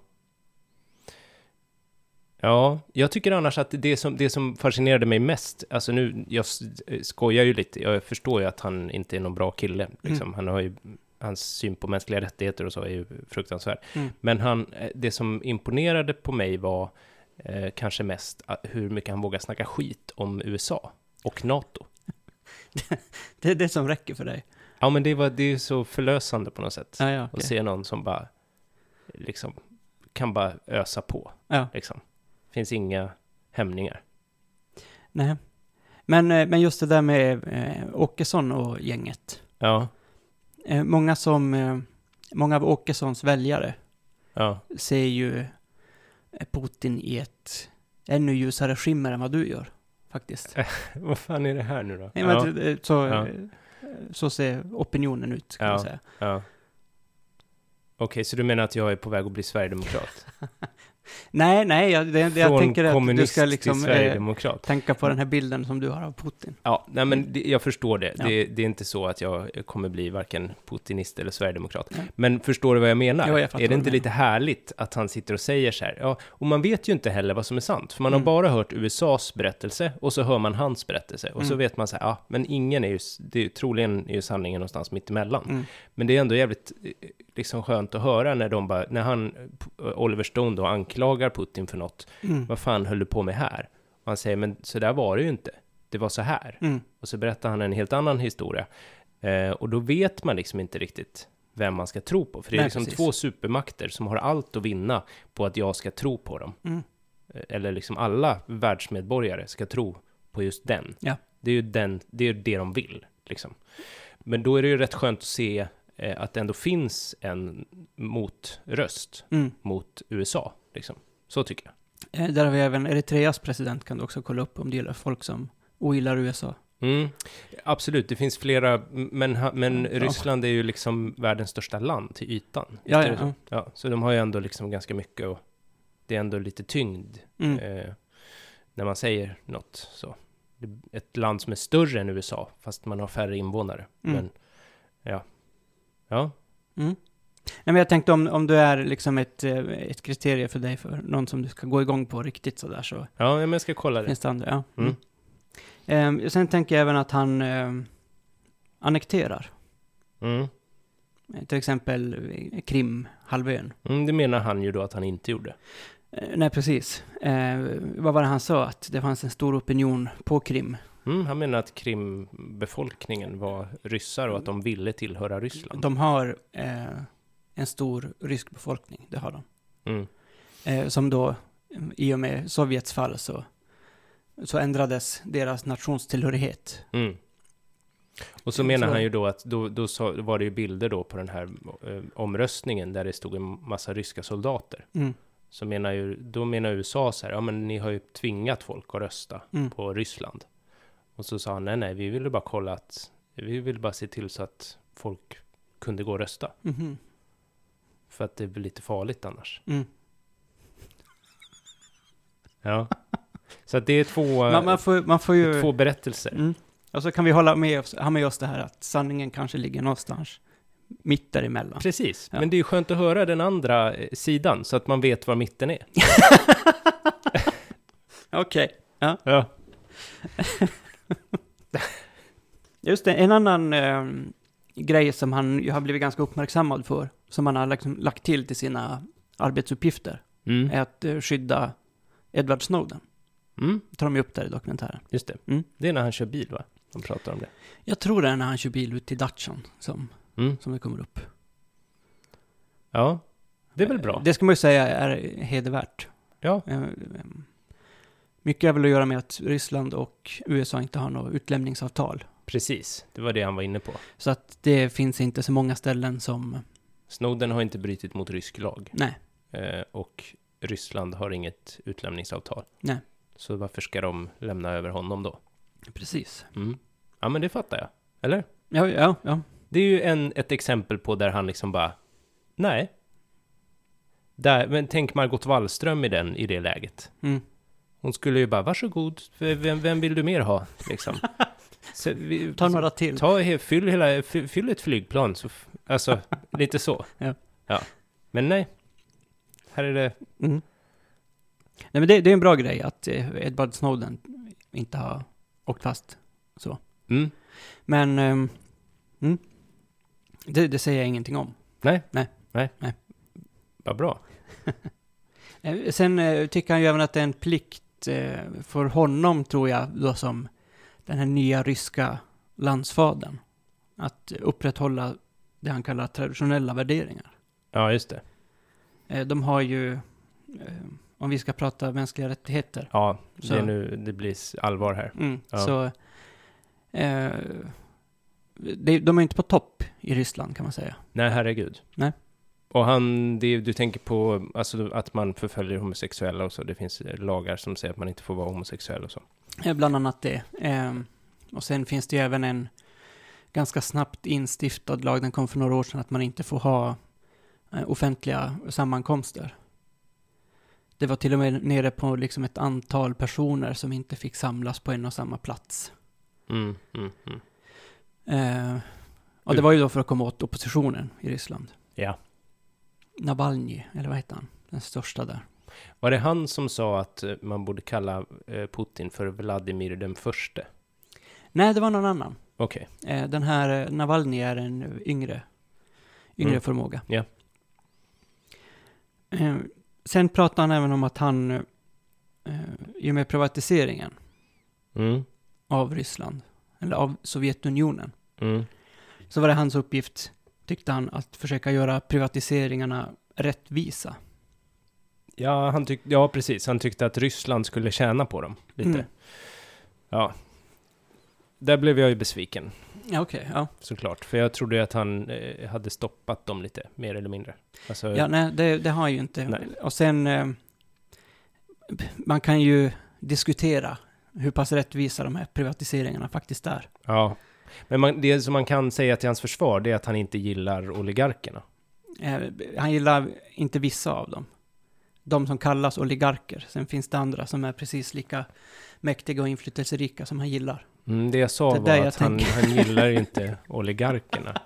B: Ja, jag tycker annars att det som, det som fascinerade mig mest, alltså nu, jag s- eh, skojar ju lite, jag förstår ju att han inte är någon bra kille, liksom. han har ju, hans syn på mänskliga rättigheter och så är ju fruktansvärd.
A: Mm.
B: Men han, eh, det som imponerade på mig var eh, kanske mest eh, hur mycket han vågar snacka skit om USA och NATO.
A: Det är det som räcker för dig.
B: Ja, men det var, det är ju så förlösande på något sätt.
A: Ja, ja,
B: Och
A: okej.
B: se någon som bara, liksom, kan bara ösa på.
A: Ja.
B: Liksom. Finns inga hämningar.
A: Nej. Men, eh, men just det där med eh, Åkesson och gänget.
B: Ja,
A: Eh, många, som, eh, många av Åkessons väljare
B: ja,
A: ser ju eh, Putin i ett ännu ljusare skimmer än vad du gör, faktiskt.
B: vad fan är det här nu då?
A: Nej,
B: ja,
A: men, eh, så,
B: Ja.
A: eh, så ser opinionen ut, kan
B: Ja.
A: man säga.
B: ja. Okej, så du menar att jag är på väg att bli sverigedemokrat?
A: Nej, nej, jag, det, det, jag
B: Från
A: tänker att du
B: kommunist
A: ska liksom
B: till
A: eh,
B: sverigedemokrat?
A: tänka på den här bilden som du har av Putin.
B: Ja, nej men det, jag förstår det.
A: Ja.
B: det. Det är inte så att jag kommer bli varken putinist eller sverigedemokrat.
A: Nej.
B: Men förstår du vad jag menar?
A: Jo, jag fattar
B: är det
A: vad
B: inte
A: du menar.
B: lite härligt att han sitter och säger så här? Ja, och man vet ju inte heller vad som är sant, för man har
A: Mm.
B: bara hört USAs berättelse och så hör man hans berättelse och så
A: Mm.
B: vet man så här, ja, men ingen är ju, s- det är, ju- troligen är ju sanningen någonstans mitt emellan.
A: Mm.
B: Men det är ändå jävligt eh, liksom skönt att höra när de bara, när han, eh, Oliver Stone då anklagar Putin för något,
A: Mm.
B: vad fan höll du på med här? Och han säger, men så där var det ju inte, det var så här.
A: Mm.
B: Och så berättar han en helt annan historia. Eh, och då vet man liksom inte riktigt vem man ska tro på. För det är
A: Nej,
B: liksom
A: precis.
B: två supermakter som har allt att vinna på att jag ska tro på dem.
A: Mm.
B: Eh, Eller liksom alla världsmedborgare ska tro på just den.
A: Ja.
B: Det är ju den, det, är det de vill. Liksom. Men då är det ju rätt skönt att se eh, att det ändå finns en motröst
A: Mm.
B: mot USA. Liksom. Så tycker jag.
A: Eh, Där har vi även Eritreas president, kan du också kolla upp om du gillar folk som ogillar USA.
B: Mm, absolut, det finns flera, m- men, ha- men
A: Ja.
B: Ryssland är ju liksom världens största land till ytan.
A: Ja,
B: Visst
A: ja,
B: är det så? ja. Så de har ju ändå liksom ganska mycket och det är ändå lite tyngd
A: Mm.
B: eh, när man säger något så. Det- Ett land som är större än USA, fast man har färre invånare.
A: Mm.
B: Men ja, ja,
A: Nej, men jag tänkte om, om du är liksom ett, eh, ett kriterie för dig, för någon som du ska gå igång på riktigt sådär, så
B: ja, men jag ska kolla det.
A: finns det andra. Ja.
B: Mm.
A: Mm. Eh, sen tänker jag även att han eh, annekterar,
B: Mm.
A: eh, till exempel eh, Krim, halvön.
B: Mm, det menar han ju då att han inte gjorde.
A: Eh, nej, precis. Eh, vad var det han sa? Att det fanns en stor opinion på Krim.
B: Mm, han menar att Krimbefolkningen var ryssar och att de ville tillhöra Ryssland.
A: De har eh, en stor rysk befolkning, det har de.
B: Mm.
A: Eh, som då, eh, i och med Sovjets fall, så, så ändrades deras nationstillhörighet.
B: Mm. Och så
A: Jag
B: menar
A: tror-
B: han ju då att då, då sa, var det ju bilder då på den här eh, omröstningen där det stod en massa ryska soldater.
A: Mm.
B: Så menar ju, då menar USA så här, ja men ni har ju tvingat folk att rösta
A: Mm.
B: på Ryssland. Och så sa han, nej nej, vi ville bara kolla att, vi ville bara se till så att folk kunde gå och rösta.
A: Mhm.
B: För att det blir lite farligt annars.
A: Mm.
B: Ja. Så att det är två, eh,
A: Man, man, får, man får ju...
B: två berättelser.
A: Mm. Och så kan vi hålla med oss, ha med oss det här att sanningen kanske ligger någonstans mitt däremellan.
B: Precis,
A: Ja.
B: men det är ju skönt att höra den andra eh, sidan så att man vet var mitten är.
A: Okej.
B: Ja.
A: Just det, en annan eh, grej som han ju har blivit ganska uppmärksammad för, som han har liksom lagt till till sina arbetsuppgifter,
B: Mm.
A: är att eh, skydda Edward Snowden.
B: Mm,
A: Det tar de ju upp där i dokumentären.
B: just det.
A: Mm.
B: Det är när han kör bil, va? De pratar om det.
A: Jag tror det är när han kör bil ut till Dutchan som,
B: Mm.
A: som det kommer upp.
B: Ja, det är väl bra.
A: Det ska man ju säga är hedervärt.
B: Ja.
A: Eh, eh, Mycket har väl att göra med att Ryssland och USA inte har något utlämningsavtal.
B: Precis, det var det han var inne på.
A: Så att det finns inte så många ställen som...
B: Snowden har inte brutit mot rysk lag
A: Nej,
B: eh, och Ryssland har inget utlämningsavtal.
A: Nej.
B: Så varför ska de lämna över honom då?
A: precis.
B: Mm. Ja, men det fattar jag. Eller?
A: Ja, ja, ja.
B: Det är ju en, ett exempel på där han liksom bara, nej. Där, men tänk Margot Wallström i, den, i det läget.
A: Mm.
B: Hon skulle ju bara, varsågod, vem, vem vill du mer ha? Liksom. Så vi-
A: Ta några till.
B: Ta, he- fyll, hela, fy- fyll ett flygplan, så, f- alltså lite så.
A: Ja.
B: ja. Men nej, här är det,
A: Mm. Nej, men det, det är en bra grej att eh, Edward Snowden inte har åkt fast.
B: mm,
A: Men ehm, mm, det, det säger jag ingenting om.
B: vad bra.
A: Eh, Sen eh, tycker han ju även att det är en plikt eh, för honom, tror jag, då som den här nya ryska landsfadern, att upprätthålla det han kallar traditionella värderingar.
B: Ja, just det.
A: Eh, De har ju, eh, om vi ska prata mänskliga rättigheter,
B: Ja, det, är
A: Så-
B: nu, det blir s- allvar här.
A: Mm,
B: Ja.
A: Så, eh, det, de är inte på topp i Ryssland kan man säga.
B: Nej, herregud.
A: Nej.
B: Och han, det, är- du tänker på alltså, att man förföljer homosexuella och så. Det finns eh, lagar som säger att man inte får vara homosexuell och så.
A: Eh, Bland annat det. Eh, och sen finns det ju även en ganska snabbt instiftad lag, den kom för några år sedan, att man inte får ha eh, offentliga sammankomster. Det var till och med nere på liksom ett antal personer som inte fick samlas på en och samma plats.
B: Mm, mm, mm.
A: Eh, och det var ju då för att komma åt oppositionen i Ryssland.
B: Ja.
A: Navalny, eller vad heter han? Den största där.
B: Var det han som sa att eh, man borde kalla eh, Putin för Vladimir den förste?
A: Nej, det var någon annan.
B: Okej.
A: Eh, Den här eh, Navalny är en yngre, yngre
B: Mm.
A: förmåga.
B: Ja.
A: Eh, Sen pratar han även om att han, eh, i och med privatiseringen
B: Mm,
A: av Ryssland, eller av Sovjetunionen,
B: mm,
A: så var det hans uppgift, tyckte han, att försöka göra privatiseringarna rättvisa.
B: Ja, han tyck, ja, precis. Han tyckte att Ryssland skulle tjäna på dem lite.
A: Mm.
B: Ja. Där blev jag ju besviken,
A: Ja, okej. ja.
B: såklart. För jag trodde ju att han eh, hade stoppat dem lite, mer eller mindre. Alltså,
A: Ja, nej, det, det har han ju inte.
B: Nej.
A: Och sen, eh, man kan ju diskutera hur pass rättvisa de här privatiseringarna faktiskt är.
B: Ja. Men man, det som man kan säga till hans försvar, det är att han inte gillar oligarkerna.
A: Eh, han gillar inte vissa av dem. De som kallas oligarker. Sen finns det andra som är precis lika mäktiga och inflytelserika som han gillar.
B: Mm, det jag sa
A: Det är
B: var
A: där jag
B: att han,
A: tänker.
B: han gillar ju inte oligarkerna.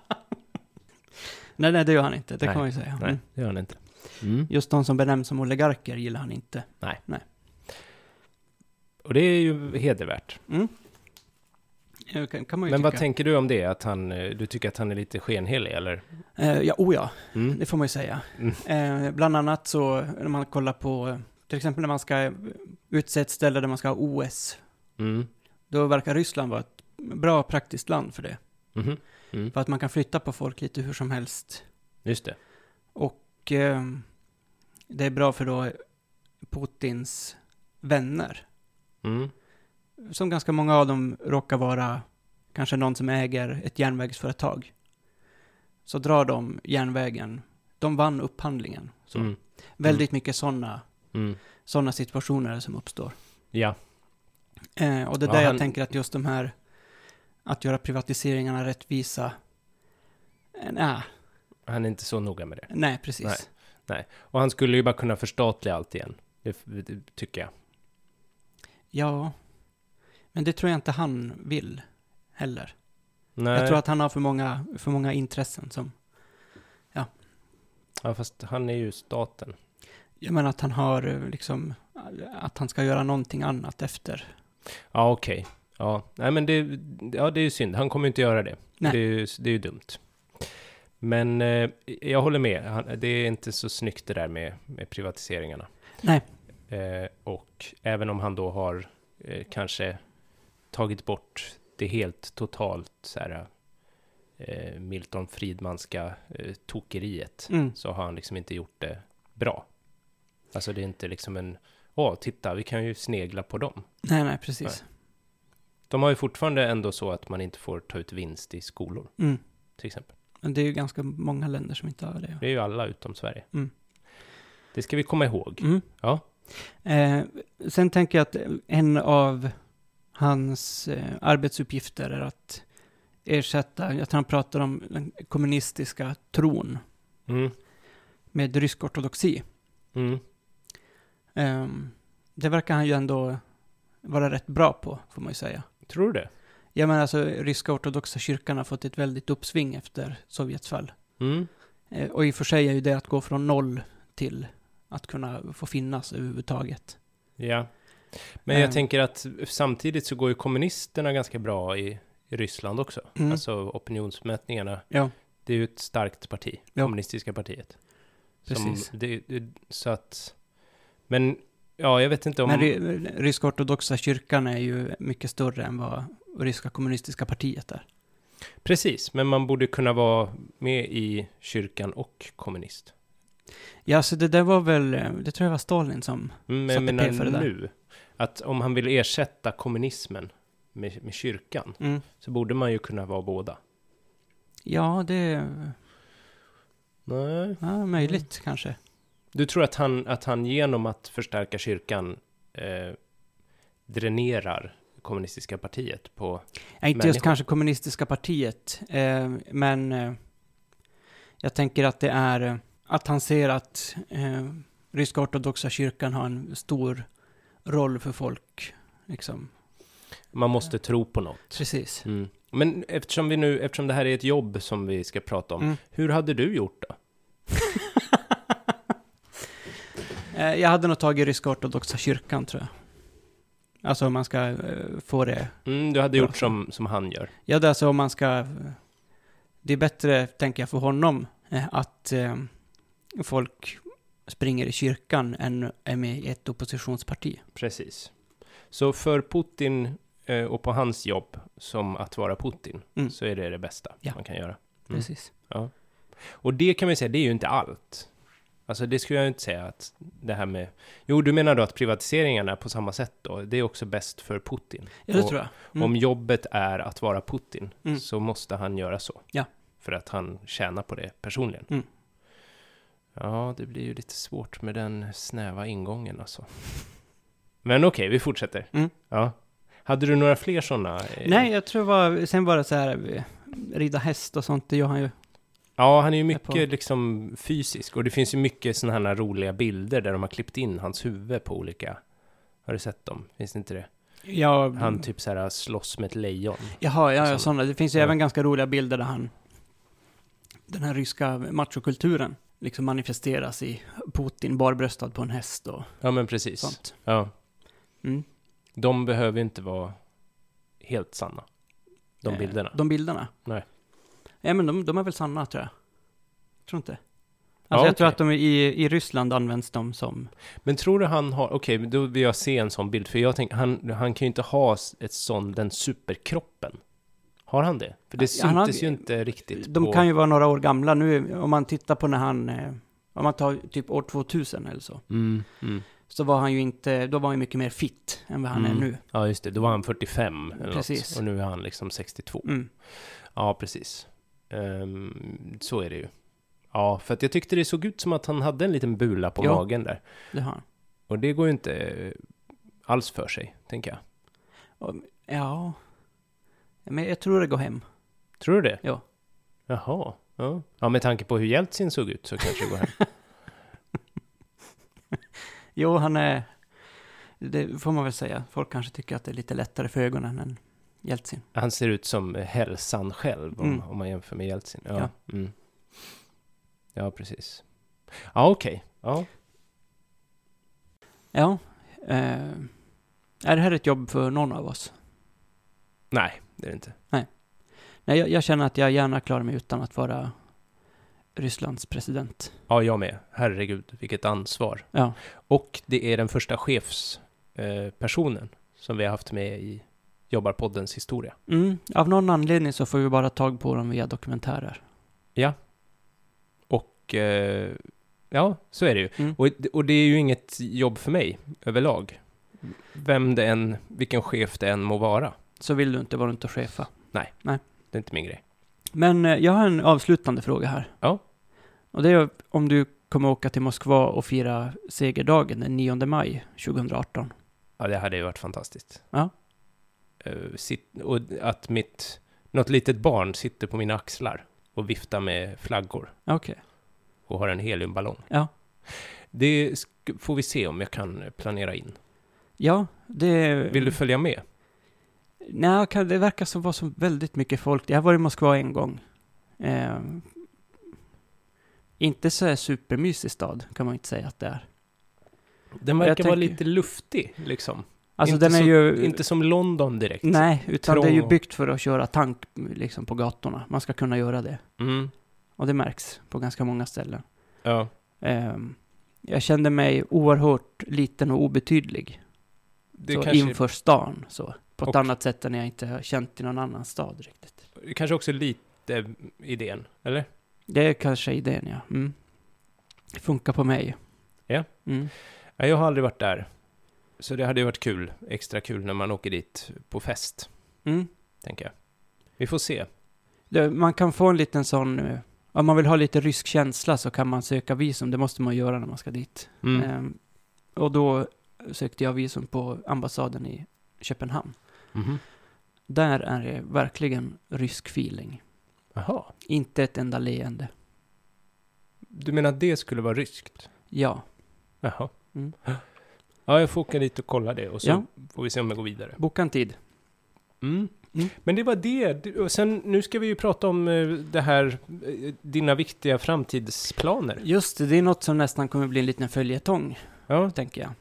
A: Nej, nej, det gör han inte. Det
B: Nej,
A: kan man ju säga.
B: Nej,
A: Mm.
B: det gör han inte. Mm.
A: Just de som benämns som oligarker gillar han inte.
B: Och det är ju hedervärt.
A: Mm. Eh, Kan, kan man ju
B: Men vad
A: tycka.
B: tänker du om det? Att han, eh, du tycker att han är lite skenhelig, eller?
A: Eh, ja, oh ja,
B: Mm.
A: det får man ju säga.
B: Mm.
A: Eh, bland annat så, när man kollar på, eh, till exempel när man ska eh, utse ett ställe där man ska ha OS,
B: Mm.
A: då verkar Ryssland vara ett bra praktiskt land för det.
B: Mhm. Mm.
A: För att man kan flytta på folk lite hur som helst.
B: Just det.
A: Och eh, det är bra för då Putins vänner.
B: Mm.
A: Som ganska många av dem råkar vara kanske någon som äger ett järnvägsföretag. Så drar de järnvägen. De vann upphandlingen. Så.
B: Mm.
A: Väldigt mycket sådana
B: Mm.
A: såna situationer som uppstår.
B: Ja.
A: Eh, och det är
B: Ja,
A: där
B: han-
A: jag tänker att just de här, att göra privatiseringarna rättvisa, eh, nej,
B: Han är inte så noga med det.
A: nej precis.
B: Nej. Och han skulle ju bara kunna förstatliga allt igen. Det, det tycker jag.
A: Ja, men det tror jag inte han vill heller.
B: Nej.
A: Jag tror att han har för många, för många intressen som...
B: Ja, fast han är ju staten.
A: Jag menar att han har eh, liksom... Att han ska göra någonting annat efter.
B: Ja, okej. Ja, nej men det, ja, det är ju synd. Han kommer ju inte göra det.
A: Nej.
B: Det är ju, det är ju dumt. Men eh, jag håller med. Han, det är inte så snyggt det där med, med privatiseringarna.
A: Nej.
B: Eh, och även om han då har eh, kanske tagit bort det helt totalt så här, eh, Milton Friedmanska eh, tokeriet
A: Mm.
B: så har han liksom inte gjort det bra. Alltså det är inte liksom en, åh, titta, vi kan ju snegla på dem.
A: Nej, nej, precis.
B: De har ju fortfarande ändå så att man inte får ta ut vinst i skolor,
A: Mm.
B: till exempel.
A: Men det är ju ganska många länder som inte har det.
B: Det är ju alla utom Sverige.
A: Mm.
B: Det ska vi komma ihåg.
A: Mm.
B: Ja.
A: Eh, sen tänker jag att en av hans eh, arbetsuppgifter är att ersätta, jag tror han pratar om den kommunistiska tron
B: Mm.
A: med rysk ortodoxi.
B: Mm.
A: Eh, det verkar han ju ändå vara rätt bra på, får man ju säga.
B: Tror du det?
A: Jag menar alltså, ryska ortodoxa kyrkan har fått ett väldigt uppsving efter Sovjets fall.
B: Mm.
A: Eh, och i och för sig är ju det att gå från noll till att kunna få finnas överhuvudtaget.
B: Ja. Men jag
A: Eh.
B: tänker att samtidigt så går ju kommunisterna ganska bra i, i Ryssland också.
A: Mm.
B: Alltså opinionsmätningarna.
A: Ja,
B: Det är ju ett starkt parti,
A: Ja.
B: kommunistiska partiet.
A: precis.
B: Som, det, det, så att... Men, ja, jag vet inte om...
A: Men ry- ryska ortodoxa kyrkan är ju mycket större än vad ryska kommunistiska partiet är.
B: Precis, men man borde kunna vara med i kyrkan och kommunist.
A: Ja, så det där var väl, eh, det tror jag var Stalin som,
B: Mm,
A: Satte
B: Men jag
A: P för det
B: menar
A: där.
B: nu, att om han vill ersätta kommunismen med, med kyrkan, så borde man ju kunna vara båda.
A: ja, det är
B: Nej.
A: ja, möjligt
B: Mm.
A: kanske.
B: Du tror att han, att han genom att förstärka kyrkan eh, dränerar kommunistiska partiet på...
A: Ja, inte
B: Människor.
A: just kanske kommunistiska partiet, eh, men eh, jag tänker att det är eh, att han ser att eh, ryska ortodoxa kyrkan har en stor roll för folk, liksom.
B: Man
A: Eh,
B: måste tro på något.
A: Precis.
B: Mm. Men eftersom, vi nu, eftersom det här är ett jobb som vi ska prata om,
A: Mm.
B: hur hade du gjort då?
A: Eh, Jag hade nog tagit ryska ortodoxa kyrkan tror jag. Alltså om man ska eh, få det.
B: Mm, du hade
A: Bra.
B: gjort som, som han gör.
A: Ja, det är alltså om man ska... eh, Det är bättre, tänker jag, för honom eh, att eh, folk springer i kyrkan än är med i ett oppositionsparti.
B: Precis. Så för Putin eh, och på hans jobb som att vara Putin
A: Mm.
B: så är det det bästa
A: Ja.
B: man kan göra. Mm.
A: Precis.
B: Och det kan man ju säga, det är ju inte allt. Alltså det skulle jag ju inte säga att det här med... Jo, du menar då att privatiseringarna på samma sätt då, det är också bäst för Putin.
A: Ja, det
B: Och
A: tror jag. Mm.
B: Om jobbet är att vara Putin
A: Mm.
B: så måste han göra så.
A: Ja.
B: För att han tjänar på det personligen.
A: Mm.
B: Ja, det blir ju lite svårt med den snäva ingången alltså. Men okej, vi fortsätter.
A: Mm.
B: Ja. Hade du några fler eh, sådana?
A: Nej, jag tror var, sen var det så här, eh, rida häst och sånt, det gör han ju.
B: Ja, han är
A: Jag
B: ju
A: är
B: mycket liksom fysisk och det finns ju mycket sådana här roliga bilder där de har klippt in hans huvud på olika... Har du sett dem? Finns det inte det?
A: Ja,
B: Han typ så här slåss med ett lejon.
A: Jaha, Mm. Alltså, ja, ja,
B: Sådana.
A: sådana. Det finns ju
B: Ja.
A: även ganska roliga bilder där han, den här ryska machokulturen, liksom manifesteras i Putin barbröstad på en häst och
B: Ja, men precis.
A: sånt.
B: Ja.
A: Mm.
B: De behöver ju inte vara helt sanna. De
A: Eh,
B: bilderna.
A: De bilderna.
B: Nej.
A: Ja, men de, de är väl sanna tror jag. Tror inte. Alltså
B: Ja,
A: jag tror
B: okej.
A: att de i, i Ryssland används de som,
B: Men tror du han har, okej, men då vill jag se en sån bild, för jag tänker, han, han kan ju inte ha s- ett sån, den superkroppen. Har han det? För det
A: Ja, han har-
B: syntes ju inte riktigt
A: de
B: på...
A: kan ju vara några år gamla nu, om man tittar på när han, eh, om man tar typ år 2000 eller så,
B: Mm, mm.
A: så var han ju inte, då var han ju mycket mer fit än vad han
B: Mm.
A: är nu.
B: Ja, just det, då var han 45 eller
A: Precis.
B: något, och nu är han liksom 62.
A: Mm.
B: Ja, precis. Ehm, så är det ju. Ja, för att jag tyckte det såg ut som att han hade en liten bula på
A: Ja.
B: magen där.
A: Det har han.
B: Och det går ju inte eh, alls för sig, tänker jag.
A: Ja. Men jag tror det går hem.
B: Tror du det?
A: Ja.
B: Jaha. Ja, ja med tanke på hur Jeltsin såg ut så kanske det går hem.
A: Jo, han är... Det får man väl säga. Folk kanske tycker att det är lite lättare för ögonen än Jeltsin.
B: Han ser ut som hälsan själv om,
A: Mm.
B: om man jämför med Jeltsin. Ja,
A: Ja.
B: ja. Mm. ja precis. Ja, okej. Ja.
A: Ja. Eh, är det här ett jobb för någon av oss?
B: Nej, det är det inte.
A: Nej, jag, jag känner att jag gärna klarar mig utan att vara Rysslands president.
B: Ja, jag med. Herregud, vilket ansvar.
A: Ja.
B: Och det är den första chefspersonen eh, personen som vi har haft med i Jobbarpoddens historia.
A: Mm, av någon anledning så får vi bara tag på dem via dokumentärer.
B: Och eh, ja, så är det ju.
A: Mm.
B: Och, och det är ju inget jobb för mig överlag. Vem det än, vilken chef det än må vara.
A: Så vill du inte vara runt och chefa.
B: Det är inte min grej.
A: Men eh, jag har en avslutande fråga här.
B: Ja.
A: Och det är om du kommer åka till Moskva och fira segerdagen den 9 maj 2018.
B: Ja, det hade ju varit fantastiskt.
A: Ja.
B: Eh, sitt, och att mitt, något litet barn sitter på mina axlar och viftar med flaggor
A: Okej.
B: och har en heliumballong.
A: Ja.
B: Det sk- får vi se om jag kan planera in.
A: Ja, det...
B: Vill du följa med?
A: Nej, kan- det verkar som var så väldigt mycket folk. Jag har varit i Moskva en gång. Eh, inte så här supermysig stad, kan man inte säga att det är.
B: Den
A: Jag
B: verkar vara
A: tänker-
B: lite luftig, liksom.
A: Alltså
B: Inte
A: den är
B: så-
A: ju...
B: Inte som London direkt.
A: nej, utan
B: trång
A: det är ju
B: och-
A: byggt för att köra tank liksom, på gatorna. Man ska kunna göra det.
B: Mm.
A: Och det märks på ganska många ställen.
B: Ja.
A: Ehm, jag kände mig oerhört liten och obetydlig
B: Det
A: så
B: kanske,
A: inför stan. Så. På ett
B: Och-
A: annat sätt än jag inte har känt i någon annan stad riktigt.
B: det kanske också är lite idén, eller?
A: Det är kanske idén, ja. Mm. Det funkar på mig.
B: Ja.
A: Mm.
B: Nej, jag har aldrig varit där. Så det hade ju varit kul, extra kul när man åker dit på fest,
A: Mm.
B: tänker jag. Vi får se.
A: Det, man kan få en liten sån... eh, Om man vill ha lite rysk känsla så kan man söka visum. Det måste man göra när man ska dit.
B: Mm.
A: Ehm, och då sökte jag visum på ambassaden i Köpenhamn.
B: Mhm.
A: Där är det verkligen rysk feeling.
B: Jaha.
A: Inte ett enda leende.
B: Du menar att det skulle vara ryskt?
A: Ja.
B: Jaha.
A: Mm.
B: Ja, jag får åka dit och kolla det och så
A: Ja.
B: får vi se om jag går vidare.
A: Boka en tid.
B: Mm.
A: Mm.
B: Men det var det. Du- Och sen, nu ska vi ju prata om eh, det här, eh, dina viktiga framtidsplaner.
A: Just det, det är något som nästan kommer bli en liten följetong,
B: Ja,
A: tänker jag.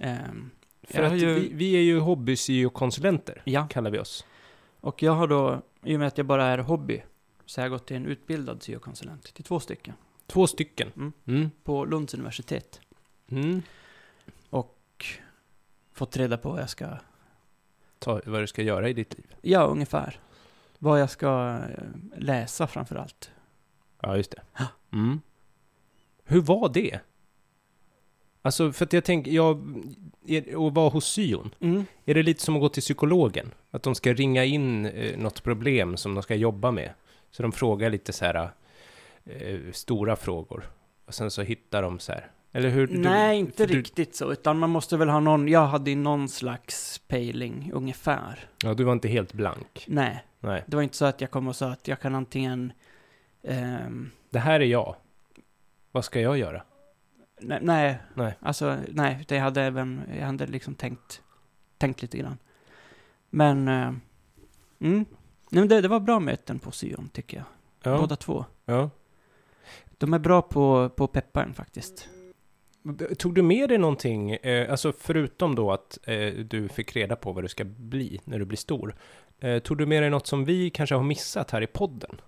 A: Ehm,
B: för
A: Jag har
B: att
A: ju-
B: vi, vi är ju hobby-syokonsulenter,
A: ja,
B: kallar vi oss.
A: och jag har då, i och med att jag bara är hobby, så har jag gått till en utbildad syokonsulent, till två stycken,
B: Två stycken.
A: Mm.
B: Mm.
A: på Lunds universitet.
B: Mm.
A: Fått reda på vad jag ska,
B: Ta, vad du ska göra i ditt liv.
A: ja ungefär, vad jag ska eh, läsa framför allt.
B: Ja, just det. Mm. Hur var det? Alltså, för att jag tänker, jag, är- att vara hos syon,
A: Mm.
B: är det lite som att gå till psykologen? Att de ska ringa in eh, något problem som de ska jobba med. Så de frågar lite så här eh, stora frågor. Och sen så hittar de så här. Eller hur? du-
A: Nej,
B: för
A: inte
B: du,
A: riktigt så, utan man måste väl ha någon, jag hade ju någon slags pejling, ungefär.
B: Ja, du var inte helt blank.
A: Nej,
B: Nej.
A: det var inte så att jag kom och sa att jag kan antingen, ehm,
B: Det här är jag. Vad ska jag göra?
A: Nej, nej.
B: Nej.
A: Alltså, nej, det hade även, jag hade liksom tänkt, tänkt lite grann. Men, eh, mm. nej, men det, det var bra möten på Syon tycker jag.
B: Ja.
A: Båda två.
B: ja.
A: De är bra på, på pepparn faktiskt.
B: Tog du med dig någonting, eh, alltså förutom då att eh, du fick reda på vad du ska bli när du blir stor, eh, tog du med dig något som vi kanske har missat här i podden?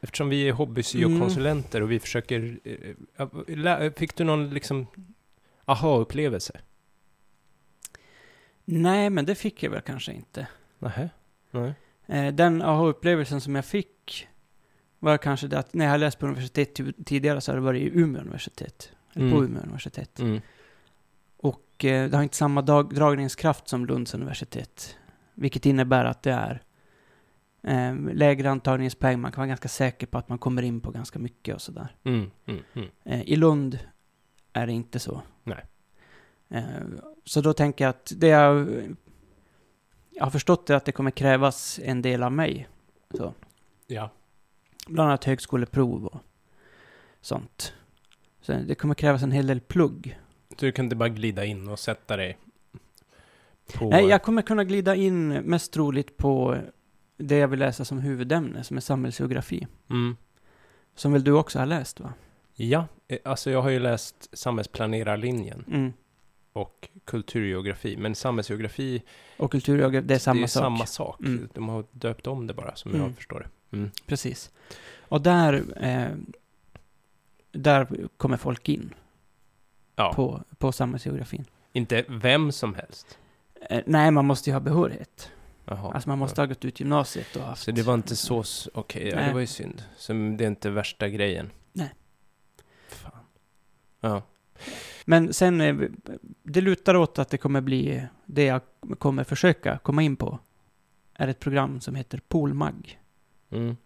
B: Eftersom vi är hobbysyokonsulenter och vi försöker, eh, ja, lä- fick du någon liksom aha-upplevelse?
A: Nej, men det fick jag väl kanske inte.
B: Nähä? Nej.
A: Eh, den aha-upplevelsen som jag fick var kanske det att när jag har läst på universitet ti- tidigare så har det varit i Umeå universitet. Eller på
B: Mm.
A: Umeå universitet.
B: Mm.
A: Och eh, det har inte samma dag, dragningskraft som Lunds universitet. Vilket innebär att det är eh, lägre antagningspoäng. Man kan vara ganska säker på att man kommer in på ganska mycket och sådär.
B: Mm. Mm. Mm.
A: Eh, I Lund är det inte så.
B: Nej.
A: Eh, så då tänker jag att det jag, jag har förstått är att det kommer krävas en del av mig. Så.
B: Ja.
A: Bland annat högskoleprov och sånt. Så det kommer krävas en hel del plugg.
B: Du kunde bara glida in och sätta dig på...
A: Nej, jag kommer kunna glida in mest troligt på det jag vill läsa som huvudämne, som är samhällsgeografi.
B: Mm.
A: Som väl du också har läst, va?
B: Ja, eh, alltså jag har ju läst samhällsplanerarlinjen.
A: Mm.
B: och kulturgeografi. Men samhällsgeografi,
A: Och kulturgeografi, det är samma
B: det är
A: sak.
B: samma sak.
A: Mm.
B: De har döpt om det bara, som
A: Mm.
B: jag förstår det.
A: Precis. Och där, eh, där kommer folk in
B: Ja,
A: på, på samhällsgeografin.
B: inte vem som helst.
A: Eh, nej, man måste ju ha behörighet.
B: Jaha.
A: Alltså man måste ha gått ut gymnasiet och haft...
B: Så det var inte så... s- Okej, ja, det
A: Nej.
B: var ju synd. Så det är inte värsta grejen.
A: Nej.
B: Fan. Ja,
A: Men sen, eh, det lutar åt att det kommer bli det jag kommer försöka komma in på. Är ett program som heter Poolmag.
B: mm.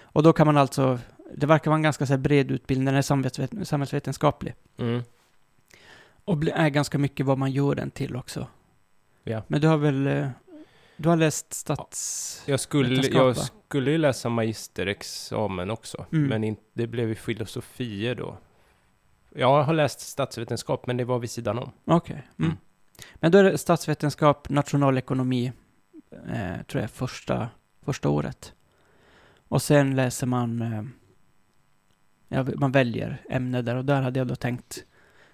A: Och då kan man alltså, det verkar vara en ganska så här bred utbildning, den är samhällsvet- samhällsvetenskaplig.
B: Mm.
A: Och bli- är ganska mycket vad man gör den till också.
B: Ja.
A: Men du har väl, eh, du har läst stats...
B: Jag skulle,
A: Vetenskap,
B: jag
A: va?
B: skulle ju läsa magisterexamen också,
A: Mm.
B: men in, det blev ju filosofier då. Jag har läst statsvetenskap, men det var vid sidan om.
A: Okej. Mm.
B: Mm.
A: Men då är det statsvetenskap, nationalekonomi, eh, tror jag, första, första året. Och sen läser man, eh, ja, man väljer ämne där och där hade jag då tänkt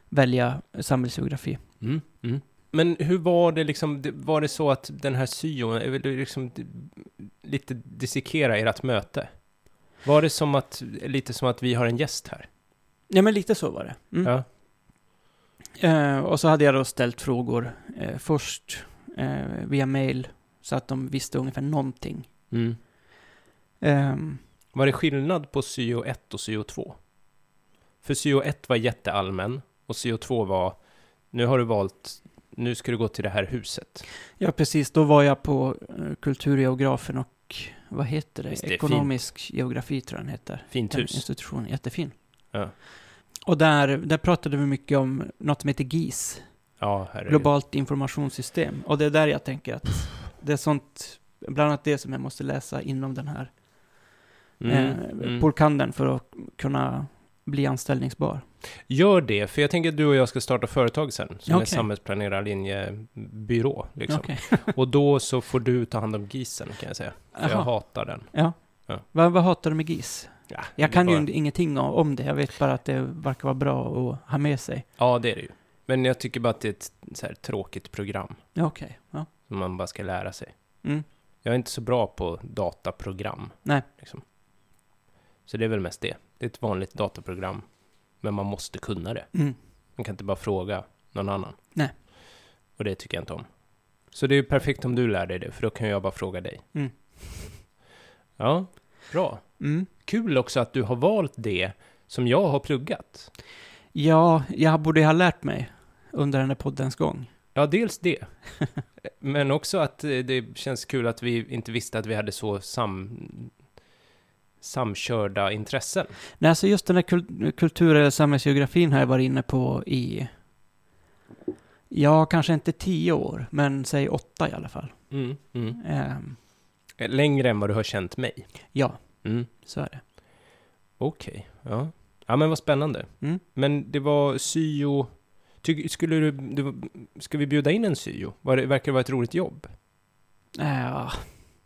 A: välja samhällsgeografi.
B: Men hur var det liksom, det- var det så att den här syon, jag vill liksom d- lite dissekera ert möte? Var det som att, lite som att vi har en gäst här?
A: Ja, men lite så var det. Mm.
B: Ja.
A: Eh, och så hade jag då ställt frågor eh, först eh, via mail så att de visste ungefär någonting. Ehm,
B: Var det skillnad på syo 1 och syo 2? För syo 1 var jätteallmän och syo 2 var, nu har du valt, nu ska du gå till det här huset.
A: Ja, precis. Då var jag på eh, kulturgeografen och vad heter det?
B: Visst, det är
A: Ekonomisk geografi tror jag den heter.
B: Fint
A: Den
B: hus.
A: institutionen, jättefin.
B: Ja.
A: Och där, där pratade vi mycket om något som heter GIS,
B: Ja, herregud.
A: globalt informationssystem. Och det är där jag tänker att det är sånt, bland annat det som jag måste läsa inom den här
B: Mm,
A: eh,
B: mm.
A: polkanden för att kunna bli anställningsbar.
B: Gör det, för jag tänker att du och jag ska starta företag sen, som är
A: Okej.
B: samhällsplanerarlinjebyrå. Liksom.
A: Okej.
B: Och då så får du ta hand om gisen, kan jag säga. För jag
A: Jaha.
B: hatar den.
A: Ja.
B: Ja.
A: Vad, vad hatar du med GIS?
B: Ja,
A: Jag
B: det
A: kan
B: bara-
A: ju ingenting om- om det. Jag vet bara att det verkar vara bra att ha med sig.
B: Ja, det är det ju. Men jag tycker bara att det är ett så här, tråkigt program
A: Ja, Okej. Ja.
B: som man bara ska lära sig.
A: Mm.
B: Jag är inte så bra på dataprogram.
A: Nej.
B: Liksom. Så det är väl mest det. Det är ett vanligt dataprogram, men man måste kunna det.
A: Mm.
B: Man kan inte bara fråga någon annan.
A: Nej.
B: Och det tycker jag inte om. Så det är ju perfekt om du lär dig det, för då kan jag bara fråga dig.
A: Mm.
B: Ja, bra.
A: Mm.
B: Kul också att du har valt det som jag har pluggat.
A: Ja, jag borde ha lärt mig under den här poddens gång.
B: Ja, dels det. Men också att eh, det känns kul att vi inte visste att vi hade så sam... samkörda intressen.
A: Nej, alltså just den här kul- kultur eller samhällsgeografin har jag varit inne på i, ja, kanske inte tio år, men säg åtta i alla fall.
B: Mm, mm.
A: Ehm,
B: Längre än vad du har känt mig.
A: ja,
B: Mm.
A: så är det.
B: Okej, ja. Ja men vad spännande.
A: Mm.
B: Men det var syo... Ty, skulle du, du... Ska vi bjuda in en syo? Var det, verkar det vara ett roligt jobb?
A: Ja. Ehm,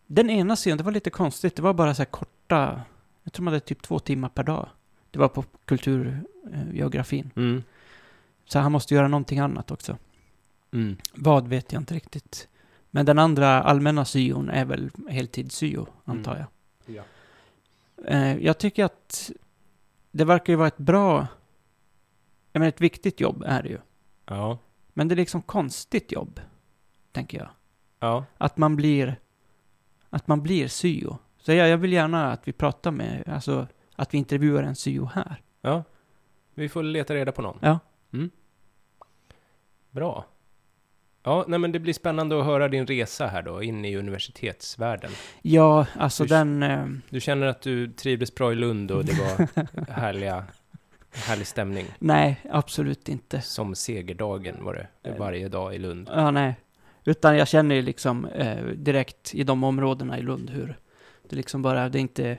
A: den ena scenen, det var lite konstigt. Det var bara så här korta, jag tror man hade typ två timmar per dag. Det var på kulturgeografin.
B: Mm.
A: Så han måste göra någonting annat också.
B: Mm.
A: Vad vet jag inte riktigt. Men den andra allmänna syon är väl heltidssyo, antar jag.
B: Ja.
A: Eh, jag tycker att det verkar ju vara ett bra... Jag menar, ett viktigt jobb är det ju.
B: Ja.
A: Men det är liksom konstigt jobb, tänker jag.
B: Ja.
A: Att man blir... Att man blir syo. Så jag, jag vill gärna att vi pratar med... Alltså, att vi intervjuar en syo här.
B: Ja. Vi får leta reda på någon.
A: Ja.
B: Mm. Bra. Ja, nej men det blir spännande att höra din resa här då, in i universitetsvärlden.
A: Ja, alltså
B: Usch.
A: den... Eh,
B: Du känner att du trivdes bra i Lund och det var härliga, härlig stämning.
A: nej, absolut inte.
B: Som segerdagen var
A: Eh.
B: det, varje dag i Lund.
A: Ja, nej. Utan jag känner ju liksom eh, direkt i de områdena i Lund hur det liksom bara, det är inte,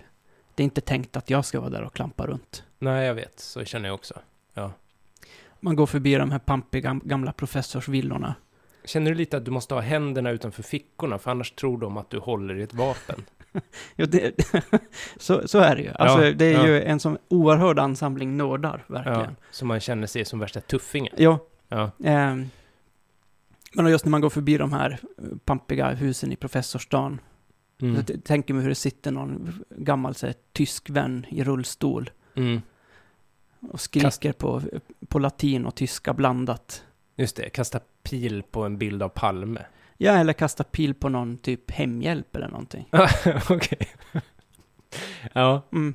A: det är inte tänkt att jag ska vara där och klampa runt.
B: Nej, jag vet. Så känner jag också.
A: Man går förbi de här pampiga gam- gamla professorsvillorna.
B: Känner du lite att du måste ha händerna utanför fickorna, för annars tror de att du håller i ett vapen?
A: Ja, det, så, så är det ju. Alltså,
B: Ja,
A: det är
B: ja.
A: ju en sån oerhörd ansamling nördar,
B: Ja,
A: verkligen.
B: så man känner sig som värsta tuffingen.
A: Ja.
B: Ja.
A: ehm, men just när man går förbi de här eh, pampiga husen i professorsdagen,
B: Mm.
A: jag t- tänker mig hur det sitter någon gammal så här, tysk vän i rullstol
B: Mm.
A: Och skriker på, på latin och tyska blandat.
B: Just det, kasta pil på en bild av Palme.
A: Ja, eller kasta pil på någon typ hemhjälp eller någonting.
B: Okej. Ja,
A: Mm,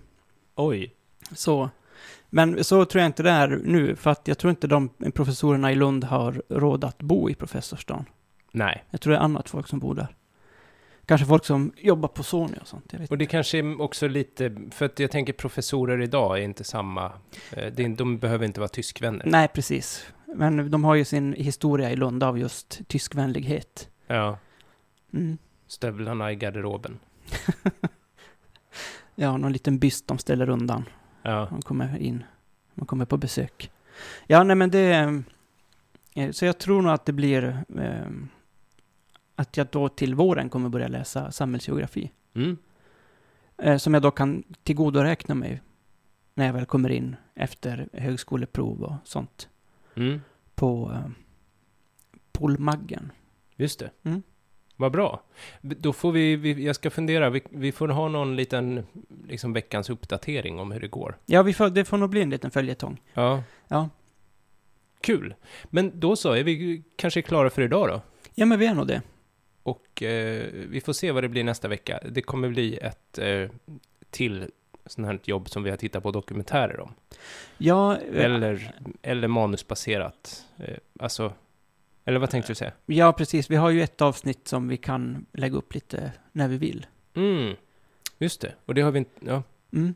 B: oj.
A: så. Men så tror jag inte det är nu, för att jag tror inte de professorerna i Lund har råd att bo i professorsstaden.
B: Nej.
A: Jag tror det är annat folk som bor där. Kanske folk som jobbar på Sony och sånt. Jag vet.
B: Och det kanske är också lite, för att jag tänker professorer idag är inte samma, eh, det är- de behöver inte vara tyskvänner.
A: Nej, precis. Men de har ju sin historia i Lund av just tyskvänlighet.
B: Ja,
A: Mm.
B: stövlarna i garderoben.
A: Ja, någon liten byst de ställer undan.
B: Ja,
A: De kommer in. De kommer på besök. Ja, nej men det... eh, Så jag tror nog att det blir... Eh, att jag då till våren kommer börja läsa samhällsgeografi.
B: mm.
A: Eh, som jag då kan tillgodoräkna mig när jag väl kommer in efter högskoleprov och sånt
B: Mm.
A: på eh, Polmaggen.
B: just det.
A: Mm.
B: Vad bra. B- Då får vi, vi jag ska fundera, vi, vi får ha någon liten, liksom veckans uppdatering om hur det går.
A: Ja, vi får, det får nog bli en liten följetong.
B: Ja.
A: Ja.
B: Kul. Men då så, är vi kanske klara för idag då?
A: Ja, men vi är nog det.
B: Och eh, vi får se vad det blir nästa vecka. Det kommer bli ett eh, till sånt här jobb som vi har tittat på dokumentärer om.
A: Ja, eh,
B: Eller, eller manusbaserat. Eh, alltså, eller vad tänkte du säga?
A: ja, precis. Vi har ju ett avsnitt som vi kan lägga upp lite när vi vill.
B: Mm, just det. Och det har vi inte... Ja.
A: Mm.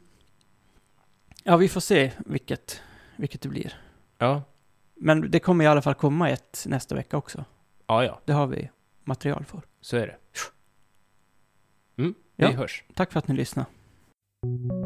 A: Ja, vi får se vilket, vilket det blir.
B: Ja,
A: Men det kommer i alla fall komma ett nästa vecka också.
B: ja, ja
A: Det har vi material för.
B: så är det. Mm, vi
A: Ja.
B: hörs.
A: Tack för att ni lyssnade.